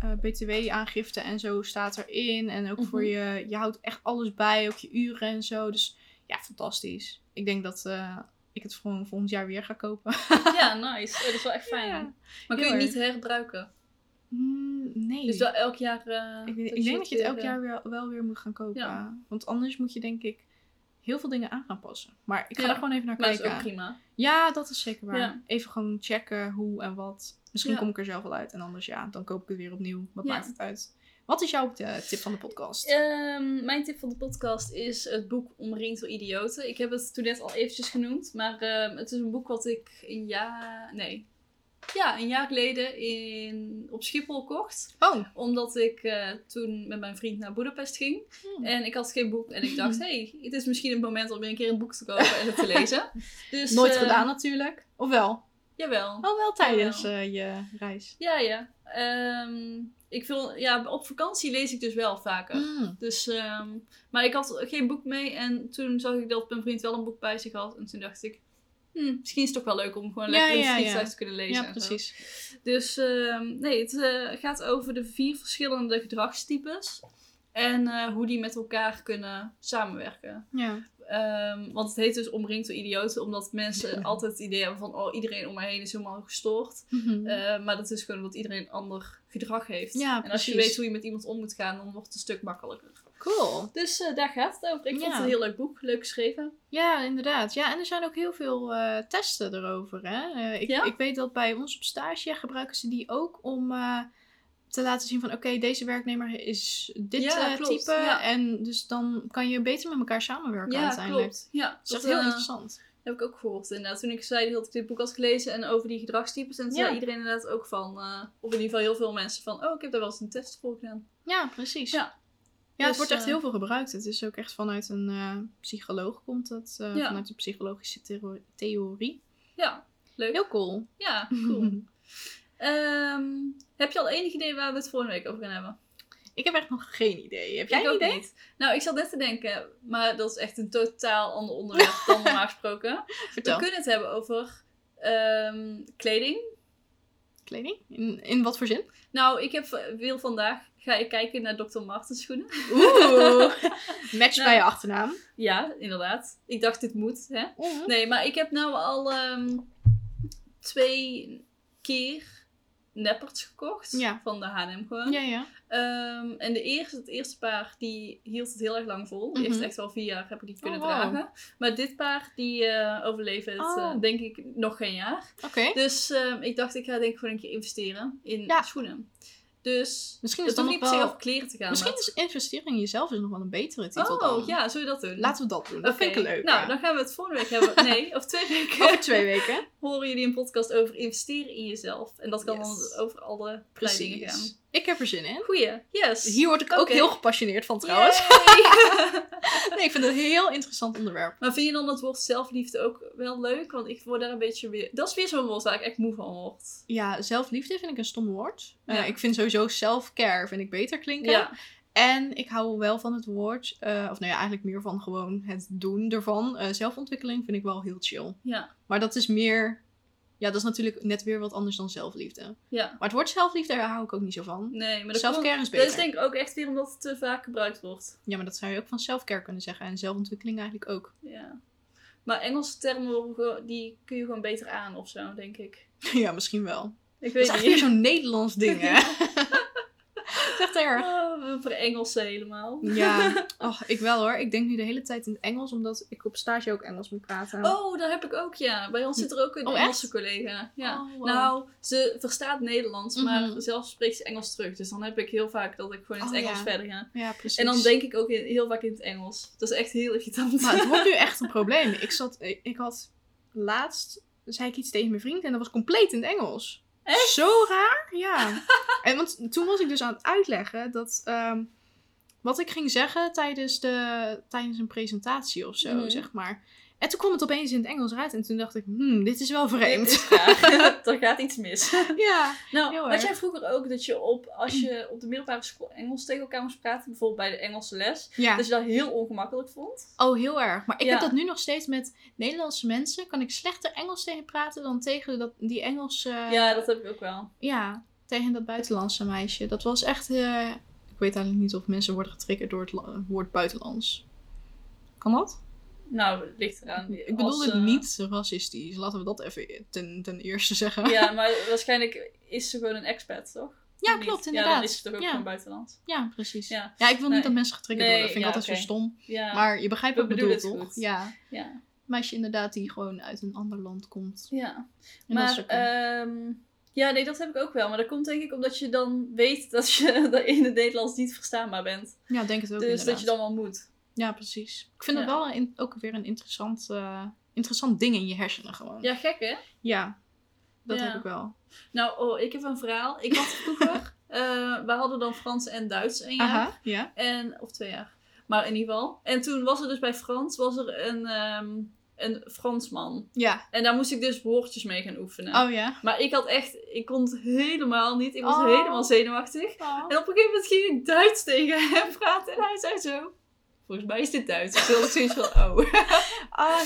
Speaker 1: eh, BTW-aangifte en zo staat erin. En ook voor
Speaker 2: Mhm.
Speaker 1: je, je houdt echt alles bij, ook je uren en zo. Dus ja, fantastisch. Ik denk dat eh, ik het gewoon volgend jaar weer ga kopen.
Speaker 2: ja, nice. Oh, dat is wel echt fijn.
Speaker 1: Ja.
Speaker 2: Maar kun
Speaker 1: Heel
Speaker 2: je
Speaker 1: erg.
Speaker 2: niet herbruiken?
Speaker 1: Mm, nee.
Speaker 2: Dus wel elk jaar... eh,
Speaker 1: ik, weet- ik
Speaker 2: je
Speaker 1: denk dat je het
Speaker 2: weer,
Speaker 1: elk
Speaker 2: eh,
Speaker 1: jaar weer, wel weer moet gaan kopen.
Speaker 2: Ja.
Speaker 1: Want anders moet je denk ik heel veel dingen aan gaan passen. Maar ik ga
Speaker 2: Ja,
Speaker 1: er gewoon even naar
Speaker 2: Maar dat is
Speaker 1: kijken.
Speaker 2: ook prima.
Speaker 1: Ja, dat is zeker waar.
Speaker 2: Ja.
Speaker 1: Even gewoon checken hoe en wat. Misschien
Speaker 2: Ja.
Speaker 1: kom ik er zelf wel uit. En anders ja, dan koop ik het weer opnieuw. Wat
Speaker 2: Ja.
Speaker 1: maakt het uit? Wat is jouw eh, tip van de podcast?
Speaker 2: Ehm, mijn tip van de podcast is het boek Omringd door Idioten. Ik heb het toen net al eventjes genoemd, maar ehm, het is een boek wat ik een jaar, nee, ja, een jaar geleden in, op Schiphol kocht.
Speaker 1: Oh,
Speaker 2: Omdat ik eh, toen met mijn vriend naar Budapest ging
Speaker 1: Hmm.
Speaker 2: en ik had geen boek en ik dacht, hey, het is misschien het moment om weer een keer een boek te kopen en het te lezen. Dus,
Speaker 1: nooit
Speaker 2: eh,
Speaker 1: gedaan natuurlijk. Of wel?
Speaker 2: Jawel.
Speaker 1: Oh, wel tijdens eh, je reis.
Speaker 2: Ja, ja. Ehm, ik wil, ja, op vakantie lees ik dus wel vaker.
Speaker 1: Mm.
Speaker 2: Dus, ehm, maar ik had geen boek mee. En toen zag ik dat mijn vriend wel een boek bij zich had. En toen dacht ik, hm, misschien is het toch wel leuk om gewoon
Speaker 1: Ja,
Speaker 2: lekker in
Speaker 1: ja,
Speaker 2: de
Speaker 1: ja.
Speaker 2: schietstijd te kunnen lezen.
Speaker 1: Ja,
Speaker 2: en zo.
Speaker 1: precies.
Speaker 2: Dus ehm, nee, het eh, gaat over de vier verschillende gedragstypes. En eh, hoe die met elkaar kunnen samenwerken.
Speaker 1: Ja.
Speaker 2: Ehm, want het heet dus Omringd door Idioten. Omdat mensen altijd het idee hebben van, oh, iedereen om mij heen is helemaal gestoord.
Speaker 1: Mhm.
Speaker 2: Eh, maar dat is gewoon omdat iedereen ander gedrag heeft.
Speaker 1: Ja,
Speaker 2: en als je
Speaker 1: precies.
Speaker 2: weet hoe je met iemand om moet gaan, dan wordt het een stuk makkelijker.
Speaker 1: cool.
Speaker 2: Dus eh, daar gaat het over. Ik vond
Speaker 1: Ja.
Speaker 2: het een heel leuk boek, leuk geschreven.
Speaker 1: Ja, inderdaad. Ja, en er zijn ook heel veel eh, testen erover. Hè? Eh, ik,
Speaker 2: Ja?
Speaker 1: ik weet dat bij ons op stage gebruiken ze die ook om eh, te laten zien van oké, deze werknemer is dit
Speaker 2: Ja,
Speaker 1: eh,
Speaker 2: klopt.
Speaker 1: type.
Speaker 2: Ja.
Speaker 1: En dus dan kan je beter met elkaar samenwerken uiteindelijk.
Speaker 2: Ja,
Speaker 1: Dat is echt
Speaker 2: eh,
Speaker 1: heel interessant.
Speaker 2: heb ik ook gehoord inderdaad. Toen ik zei dat ik dit boek had gelezen en over die gedragstypes. En toen
Speaker 1: Ja.
Speaker 2: zei iedereen inderdaad ook van, eh, of in ieder geval heel veel mensen van, oh, ik heb daar wel eens een test voor gedaan.
Speaker 1: Ja, precies.
Speaker 2: Ja.
Speaker 1: Ja, het
Speaker 2: Dus,
Speaker 1: wordt echt
Speaker 2: eh,
Speaker 1: heel veel gebruikt. Het is ook echt vanuit een eh, psycholoog komt het. eh,
Speaker 2: Ja.
Speaker 1: Vanuit de psychologische theo- theorie.
Speaker 2: Ja, leuk.
Speaker 1: Heel cool.
Speaker 2: Ja, cool. Ehm, heb je al enig idee waar we het volgende week over gaan hebben?
Speaker 1: ik heb echt nog geen idee. Heb jij
Speaker 2: Ik
Speaker 1: een
Speaker 2: ook
Speaker 1: idee?
Speaker 2: niet. Nou, ik zat net te denken, maar dat is echt een totaal ander onderwerp dan normaal gesproken. We
Speaker 1: Vertel.
Speaker 2: kunnen het hebben over ehm, kleding.
Speaker 1: Kleding? In, in wat voor zin?
Speaker 2: Nou, ik heb, wil vandaag, ga ik kijken naar Dr. Martens schoenen.
Speaker 1: Oeh. Match
Speaker 2: Nou.
Speaker 1: bij je achternaam.
Speaker 2: Ja, inderdaad. Ik dacht, dit moet, hè. Nee, maar ik heb nou al ehm, twee keer nepperts gekocht.
Speaker 1: Ja.
Speaker 2: Van de H&M gewoon.
Speaker 1: Ja, ja.
Speaker 2: Ehm, en de eerste, het eerste paar, die hield het heel erg lang vol. Die heeft
Speaker 1: Mhm.
Speaker 2: echt wel vier jaar heb ik die kunnen
Speaker 1: wow.
Speaker 2: dragen. Maar dit paar, die eh, overleven het,
Speaker 1: Oh.
Speaker 2: eh, denk ik, nog geen jaar.
Speaker 1: Oké.
Speaker 2: Dus ehm, ik dacht, ik ga denk ik gewoon een keer investeren in
Speaker 1: Ja.
Speaker 2: schoenen. Dus
Speaker 1: Misschien is
Speaker 2: het
Speaker 1: dan
Speaker 2: hoeft niet
Speaker 1: nog
Speaker 2: per se
Speaker 1: wel...
Speaker 2: over kleren te gaan.
Speaker 1: Misschien
Speaker 2: maar-
Speaker 1: is investeren in jezelf is nog wel een betere titel
Speaker 2: Oh,
Speaker 1: dan.
Speaker 2: ja, zullen we dat doen?
Speaker 1: Laten we dat doen. Dat
Speaker 2: Oké.
Speaker 1: vind ik leuk.
Speaker 2: Nou, dan gaan we het volgende week hebben. Nee, of twee weken
Speaker 1: Over twee weken.
Speaker 2: horen jullie een podcast over investeren in jezelf. En dat kan
Speaker 1: Yes.
Speaker 2: dan over alle kleine dingen gaan.
Speaker 1: Precies. Ik heb er zin in.
Speaker 2: Goeie, yes.
Speaker 1: Hier word ik ook
Speaker 2: Oké.
Speaker 1: heel gepassioneerd van trouwens.
Speaker 2: Yay.
Speaker 1: Nee, ik vind het een heel interessant onderwerp.
Speaker 2: Maar vind je dan dat woord zelfliefde ook wel leuk? Want ik word daar een beetje weer... Dat is weer zo'n woord waar ik echt moe van word.
Speaker 1: Ja, zelfliefde vind ik een stom woord. Eh,
Speaker 2: Ja.
Speaker 1: ik vind sowieso self-care vind ik beter klinken.
Speaker 2: Ja.
Speaker 1: En ik hou wel van het woord, eh, of nou ja, eigenlijk meer van gewoon het doen ervan. Eh, zelfontwikkeling vind ik wel heel chill.
Speaker 2: Ja.
Speaker 1: Maar dat is meer, ja, dat is natuurlijk net weer wat anders dan zelfliefde.
Speaker 2: Ja.
Speaker 1: Maar het woord zelfliefde, daar hou ik ook niet zo van.
Speaker 2: Nee, maar dat komt...
Speaker 1: Selfcare is
Speaker 2: Dat
Speaker 1: beter.
Speaker 2: is denk ik ook echt weer omdat het te vaak gebruikt wordt.
Speaker 1: Ja, maar dat zou je ook van selfcare kunnen zeggen. En zelfontwikkeling eigenlijk ook.
Speaker 2: Ja. Maar Engelse termen worden gewoon- die kun je gewoon beter aan of zo, denk ik.
Speaker 1: ja, misschien wel.
Speaker 2: Ik
Speaker 1: Dat is
Speaker 2: weet
Speaker 1: echt weer
Speaker 2: niet.
Speaker 1: zo'n Nederlands ding, hè? Het is echt erg.
Speaker 2: Oh, we verengelsen helemaal.
Speaker 1: Ja, oh, ik wel hoor. Ik denk nu de hele tijd in het Engels, omdat ik op stage ook Engels moet praten.
Speaker 2: Oh, dat heb ik ook, ja. Bij ons zit er ook een
Speaker 1: Oh, echt?
Speaker 2: Engelse collega. Ja.
Speaker 1: Oh, wow.
Speaker 2: Nou, ze verstaat Nederlands, maar
Speaker 1: Mhm.
Speaker 2: zelf spreekt ze Engels terug. Dus dan heb ik heel vaak dat ik gewoon in het
Speaker 1: Oh,
Speaker 2: Engels
Speaker 1: ja.
Speaker 2: verder ga.
Speaker 1: Ja, precies.
Speaker 2: En dan denk ik ook in- heel vaak in het Engels. Dat is echt heel irritant.
Speaker 1: Maar het wordt nu echt een probleem. Ik, zat, ik, ik had laatst, zei ik iets tegen mijn vriend en dat was compleet in het Engels.
Speaker 2: Echt?
Speaker 1: Zo raar, ja. En want toen was ik dus aan het uitleggen dat ehm, wat ik ging zeggen tijdens, de, tijdens een presentatie of zo,
Speaker 2: Mhm.
Speaker 1: zeg maar. En toen kwam het opeens in het Engels uit en toen dacht ik, hmm, dit is wel
Speaker 2: Dit is
Speaker 1: vreemd.
Speaker 2: raar. er gaat iets mis.
Speaker 1: Ja.
Speaker 2: Nou,
Speaker 1: Heel
Speaker 2: had
Speaker 1: erg.
Speaker 2: jij vroeger ook dat je op, als je op de middelbare school Engels tegen elkaar moest praten, bijvoorbeeld bij de Engelse les,
Speaker 1: ja.
Speaker 2: dat je dat heel ongemakkelijk vond?
Speaker 1: Oh, heel erg. Maar ik
Speaker 2: Dus- Ja.
Speaker 1: heb dat nu nog steeds met Nederlandse mensen. Kan ik slechter Engels tegen praten dan tegen dat, die Engelse...
Speaker 2: ja, dat heb ik ook wel.
Speaker 1: Ja, tegen dat buitenlandse meisje. Dat was echt. eh, ik weet eigenlijk niet of mensen worden getriggerd door het la- woord buitenlands. Kan dat?
Speaker 2: Nou, het ligt eraan.
Speaker 1: Ik
Speaker 2: Als,
Speaker 1: bedoel het
Speaker 2: eh,
Speaker 1: niet racistisch. Laten we dat even ten, ten eerste zeggen.
Speaker 2: Ja, maar waarschijnlijk is ze gewoon een expat, toch?
Speaker 1: Ja,
Speaker 2: Of niet?
Speaker 1: klopt,
Speaker 2: Ja, dan
Speaker 1: inderdaad.
Speaker 2: is het toch ook
Speaker 1: Ja.
Speaker 2: gewoon buitenland.
Speaker 1: Ja, precies.
Speaker 2: Ja.
Speaker 1: Ja, ik wil
Speaker 2: Nee.
Speaker 1: niet dat mensen getriggerd
Speaker 2: Nee,
Speaker 1: worden. Dat vind ik
Speaker 2: ja,
Speaker 1: altijd zo stom.
Speaker 2: Ja,
Speaker 1: Maar je begrijpt
Speaker 2: We
Speaker 1: wat ik bedoel,
Speaker 2: bedoelen
Speaker 1: toch?
Speaker 2: het goed.
Speaker 1: Ja.
Speaker 2: ja.
Speaker 1: Meisje inderdaad die gewoon uit een ander land komt.
Speaker 2: ja.
Speaker 1: En dat is
Speaker 2: maar,
Speaker 1: ook een-
Speaker 2: ehm, ja, nee, dat heb ik ook wel. Maar dat komt denk ik omdat je dan weet dat je dat in het Nederlands niet verstaanbaar bent.
Speaker 1: ja, ik denk het ook
Speaker 2: Dus
Speaker 1: inderdaad.
Speaker 2: dat je dan wel moet.
Speaker 1: Ja, precies. Ik vind
Speaker 2: Ja.
Speaker 1: het wel een- ook weer een interessant, eh, interessant ding in je hersenen gewoon.
Speaker 2: Ja, gek hè?
Speaker 1: Ja, dat
Speaker 2: Ja.
Speaker 1: heb ik wel.
Speaker 2: Nou, oh, ik heb een verhaal. Ik had vroeger, eh, we hadden dan Frans en Duits een jaar.
Speaker 1: Aha, ja.
Speaker 2: En, of twee jaar. Maar in ieder geval. En toen was er dus bij Frans was er een, ehm, een Fransman.
Speaker 1: Ja.
Speaker 2: En daar moest ik dus woordjes mee gaan oefenen.
Speaker 1: Oh ja.
Speaker 2: Maar ik had echt, ik kon het helemaal niet. Ik was
Speaker 1: Oh.
Speaker 2: helemaal zenuwachtig.
Speaker 1: Oh.
Speaker 2: En op een gegeven moment ging ik Duits tegen hem praten. En hij zei zo... Volgens mij is dit Duits. Ik wilde zoiets van... Oh,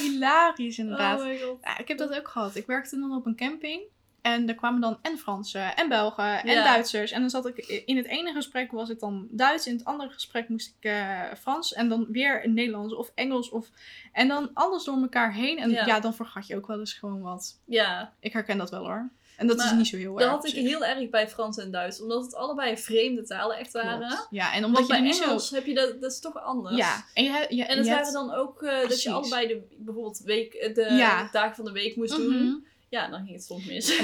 Speaker 1: hilarisch inderdaad.
Speaker 2: oh my god.
Speaker 1: Ja, ik heb dat ook gehad. Ik werkte dan op een camping. En er kwamen dan en Fransen en Belgen en
Speaker 2: Ja.
Speaker 1: Duitsers. En dan zat ik in het ene gesprek was het dan Duits. In het andere gesprek moest ik eh, Frans. En dan weer Nederlands of Engels. Of... En dan alles door elkaar heen. En
Speaker 2: Ja.
Speaker 1: ja. dan vergat je ook wel eens gewoon wat.
Speaker 2: Ja,
Speaker 1: Ik herken dat wel hoor. En dat is
Speaker 2: Maar
Speaker 1: niet zo heel
Speaker 2: dat
Speaker 1: erg.
Speaker 2: had
Speaker 1: op
Speaker 2: ik
Speaker 1: zich.
Speaker 2: heel erg bij Frans en Duits. Omdat het allebei vreemde talen echt
Speaker 1: Klopt.
Speaker 2: waren.
Speaker 1: Ja, en omdat
Speaker 2: Omdat
Speaker 1: je er
Speaker 2: bij
Speaker 1: niet zo...
Speaker 2: Engels heb je dat... Dat is toch anders.
Speaker 1: Ja, en je, hebt- je,
Speaker 2: En het
Speaker 1: je
Speaker 2: waren
Speaker 1: hebt-
Speaker 2: dan ook eh, dat
Speaker 1: Precies.
Speaker 2: je allebei de, bijvoorbeeld week, eh, de
Speaker 1: Ja.
Speaker 2: dagen van de week moest doen.
Speaker 1: Mhm.
Speaker 2: Ja, dan ging het soms mis.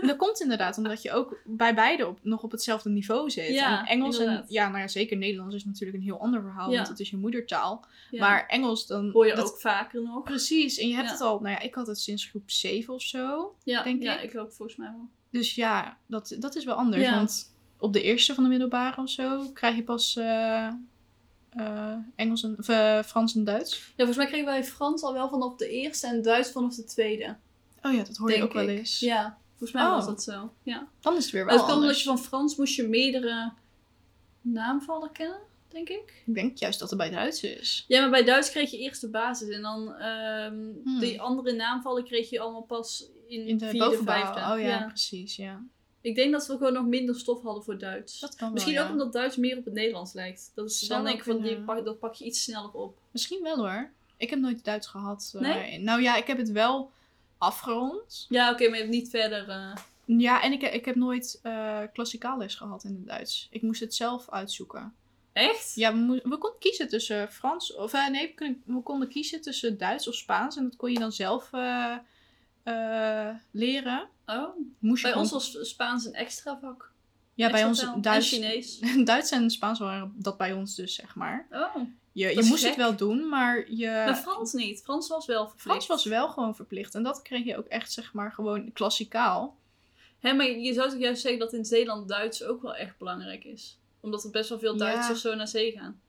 Speaker 1: En dat komt inderdaad omdat je ook bij beide op, nog op hetzelfde niveau zit.
Speaker 2: Ja,
Speaker 1: en Engels en
Speaker 2: inderdaad.
Speaker 1: ja, nou ja, zeker Nederlands is natuurlijk een heel ander verhaal,
Speaker 2: Ja.
Speaker 1: want het is je moedertaal.
Speaker 2: Ja.
Speaker 1: Maar Engels dan
Speaker 2: Hoor je
Speaker 1: dat-
Speaker 2: ook vaker nog.
Speaker 1: Precies, en je hebt
Speaker 2: Ja.
Speaker 1: het al. Nou ja, ik had het sinds groep 7 of zo.
Speaker 2: Ja,
Speaker 1: Denk
Speaker 2: ja
Speaker 1: ik.
Speaker 2: ik ook volgens mij wel.
Speaker 1: Dus ja, dat, dat is wel anders.
Speaker 2: Ja.
Speaker 1: Want op de eerste van de middelbare of zo krijg je pas eh, eh, Engels en, of, eh, Frans en Duits.
Speaker 2: Ja, volgens mij kregen wij Frans al wel vanaf de eerste en Duits vanaf de tweede.
Speaker 1: Oh ja, dat hoor je
Speaker 2: Denk
Speaker 1: ook wel
Speaker 2: ik.
Speaker 1: eens.
Speaker 2: Ja, volgens mij
Speaker 1: Oh.
Speaker 2: was dat zo. Ja.
Speaker 1: Dan is het weer
Speaker 2: Maar
Speaker 1: wel
Speaker 2: het kwam omdat
Speaker 1: anders.
Speaker 2: je van Frans moest je meerdere naamvallen kennen, denk ik.
Speaker 1: Ik denk juist dat het bij Duits is.
Speaker 2: Ja, maar bij Duits kreeg je eerst de basis en dan ehm,
Speaker 1: Hmm.
Speaker 2: die andere naamvallen kreeg je allemaal pas in,
Speaker 1: In de
Speaker 2: vierde,
Speaker 1: bovenbouw.
Speaker 2: vijfde.
Speaker 1: Oh ja, precies, ja. Dus
Speaker 2: Ik denk dat we gewoon nog minder stof hadden voor Duits.
Speaker 1: Dat kan wel,
Speaker 2: Misschien ook
Speaker 1: ja.
Speaker 2: omdat Duits meer op het Nederlands lijkt. Dat is
Speaker 1: Zou
Speaker 2: dan
Speaker 1: wel
Speaker 2: denk ik van, die
Speaker 1: kunnen.
Speaker 2: pak, dat pak je iets sneller op.
Speaker 1: Misschien wel hoor. Ik heb nooit Duits gehad. eh,
Speaker 2: Nee?
Speaker 1: in- nou ja, ik heb het wel afgerond.
Speaker 2: Ja, oké, maar je hebt niet verder... eh,
Speaker 1: Ja, en ik, ik heb nooit eh klassikaal les gehad in het Duits. Ik moest het zelf uitzoeken.
Speaker 2: Echt?
Speaker 1: Ja, we, moe- we konden kiezen tussen Frans... Of eh, nee, we, kunnen- we konden kiezen tussen Duits of Spaans. En dat kon je dan zelf eh, eh, leren.
Speaker 2: Oh,
Speaker 1: Moest je
Speaker 2: bij
Speaker 1: gewoon-
Speaker 2: ons was Spaans een extra vak.
Speaker 1: Ja, bij
Speaker 2: Extra
Speaker 1: ons
Speaker 2: taal.
Speaker 1: Duits...
Speaker 2: En Chinees.
Speaker 1: Duits en Spaans waren dat bij ons dus, zeg maar.
Speaker 2: Oh,
Speaker 1: Je, je
Speaker 2: is
Speaker 1: moest
Speaker 2: gek.
Speaker 1: het wel doen, maar je...
Speaker 2: maar Frans niet. Frans was wel verplicht.
Speaker 1: Eh, Frans was wel gewoon verplicht. En dat kreeg je ook echt, zeg maar, gewoon klassikaal.
Speaker 2: Hè, maar je zou toch juist zeggen dat in Zeeland Duits ook wel echt belangrijk is. Omdat er best wel veel
Speaker 1: Ja.
Speaker 2: Duitsers zo naar zee gaan.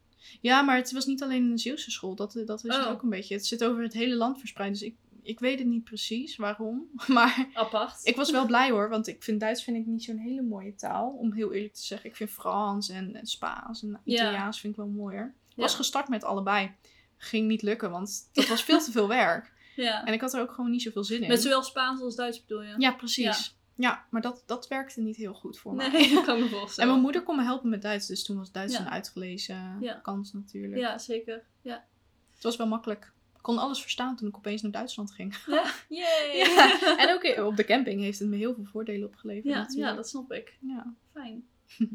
Speaker 1: Ja, maar het was niet alleen een Zeeuwse school. Dat, eh, dat is
Speaker 2: Oh.
Speaker 1: het ook een beetje. Het zit over het hele land verspreid. Dus ik, ik weet het niet precies waarom. Maar
Speaker 2: Apart.
Speaker 1: ik was wel blij hoor. Want ik vind Duits vind ik niet zo'n hele mooie taal. Om heel eerlijk te zeggen. Ik vind Frans en, en Spaans en Italiaans vind ik wel mooier. Ik was
Speaker 2: Ja.
Speaker 1: gestart met allebei. Ging niet lukken, want dat was veel te veel werk.
Speaker 2: Ja.
Speaker 1: En ik had er ook gewoon niet zoveel zin in.
Speaker 2: Met zowel Spaans als Duits bedoel je?
Speaker 1: Ja, precies. Ja, maar dat, dat werkte niet heel goed voor mij.
Speaker 2: Nee, dat kan ik me
Speaker 1: En
Speaker 2: voorstellen.
Speaker 1: mijn moeder kon me helpen met Duits, dus toen was Duits
Speaker 2: eh, Ja.
Speaker 1: een uitgelezen
Speaker 2: Ja.
Speaker 1: kans natuurlijk.
Speaker 2: Ja, zeker. Ja.
Speaker 1: Het was wel makkelijk. Ik kon alles verstaan toen ik opeens naar Duitsland ging.
Speaker 2: Yay!
Speaker 1: Ja. En ook op de camping heeft het me heel veel voordelen opgeleverd.
Speaker 2: Ja, ja,
Speaker 1: natuurlijk.
Speaker 2: dat snap ik.
Speaker 1: ja.
Speaker 2: Fijn.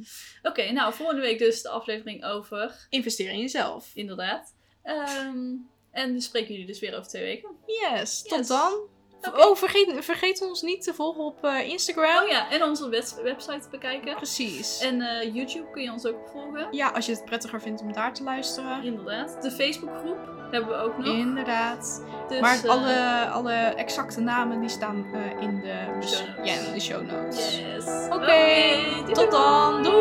Speaker 2: Oké, nou, volgende week dus de aflevering over,
Speaker 1: Investeer in jezelf.
Speaker 2: inderdaad. Ehm, en we spreken jullie dus weer over twee weken.
Speaker 1: Yes, tot
Speaker 2: Yes.
Speaker 1: dan.
Speaker 2: Oké.
Speaker 1: Oh, vergeet, vergeet ons niet te volgen op eh, Instagram.
Speaker 2: Oh ja, en onze webs- website te bekijken.
Speaker 1: Precies.
Speaker 2: En eh, YouTube kun je ons ook volgen.
Speaker 1: ja, als je het prettiger vindt om daar te luisteren.
Speaker 2: Inderdaad. De Facebookgroep hebben we ook nog.
Speaker 1: Inderdaad.
Speaker 2: Dus,
Speaker 1: maar
Speaker 2: eh,
Speaker 1: alle, alle exacte namen die staan eh, in, de,
Speaker 2: Show notes.
Speaker 1: ja, in de show notes.
Speaker 2: Yes.
Speaker 1: Oké,
Speaker 2: Oké, doei.
Speaker 1: tot dan. Doei!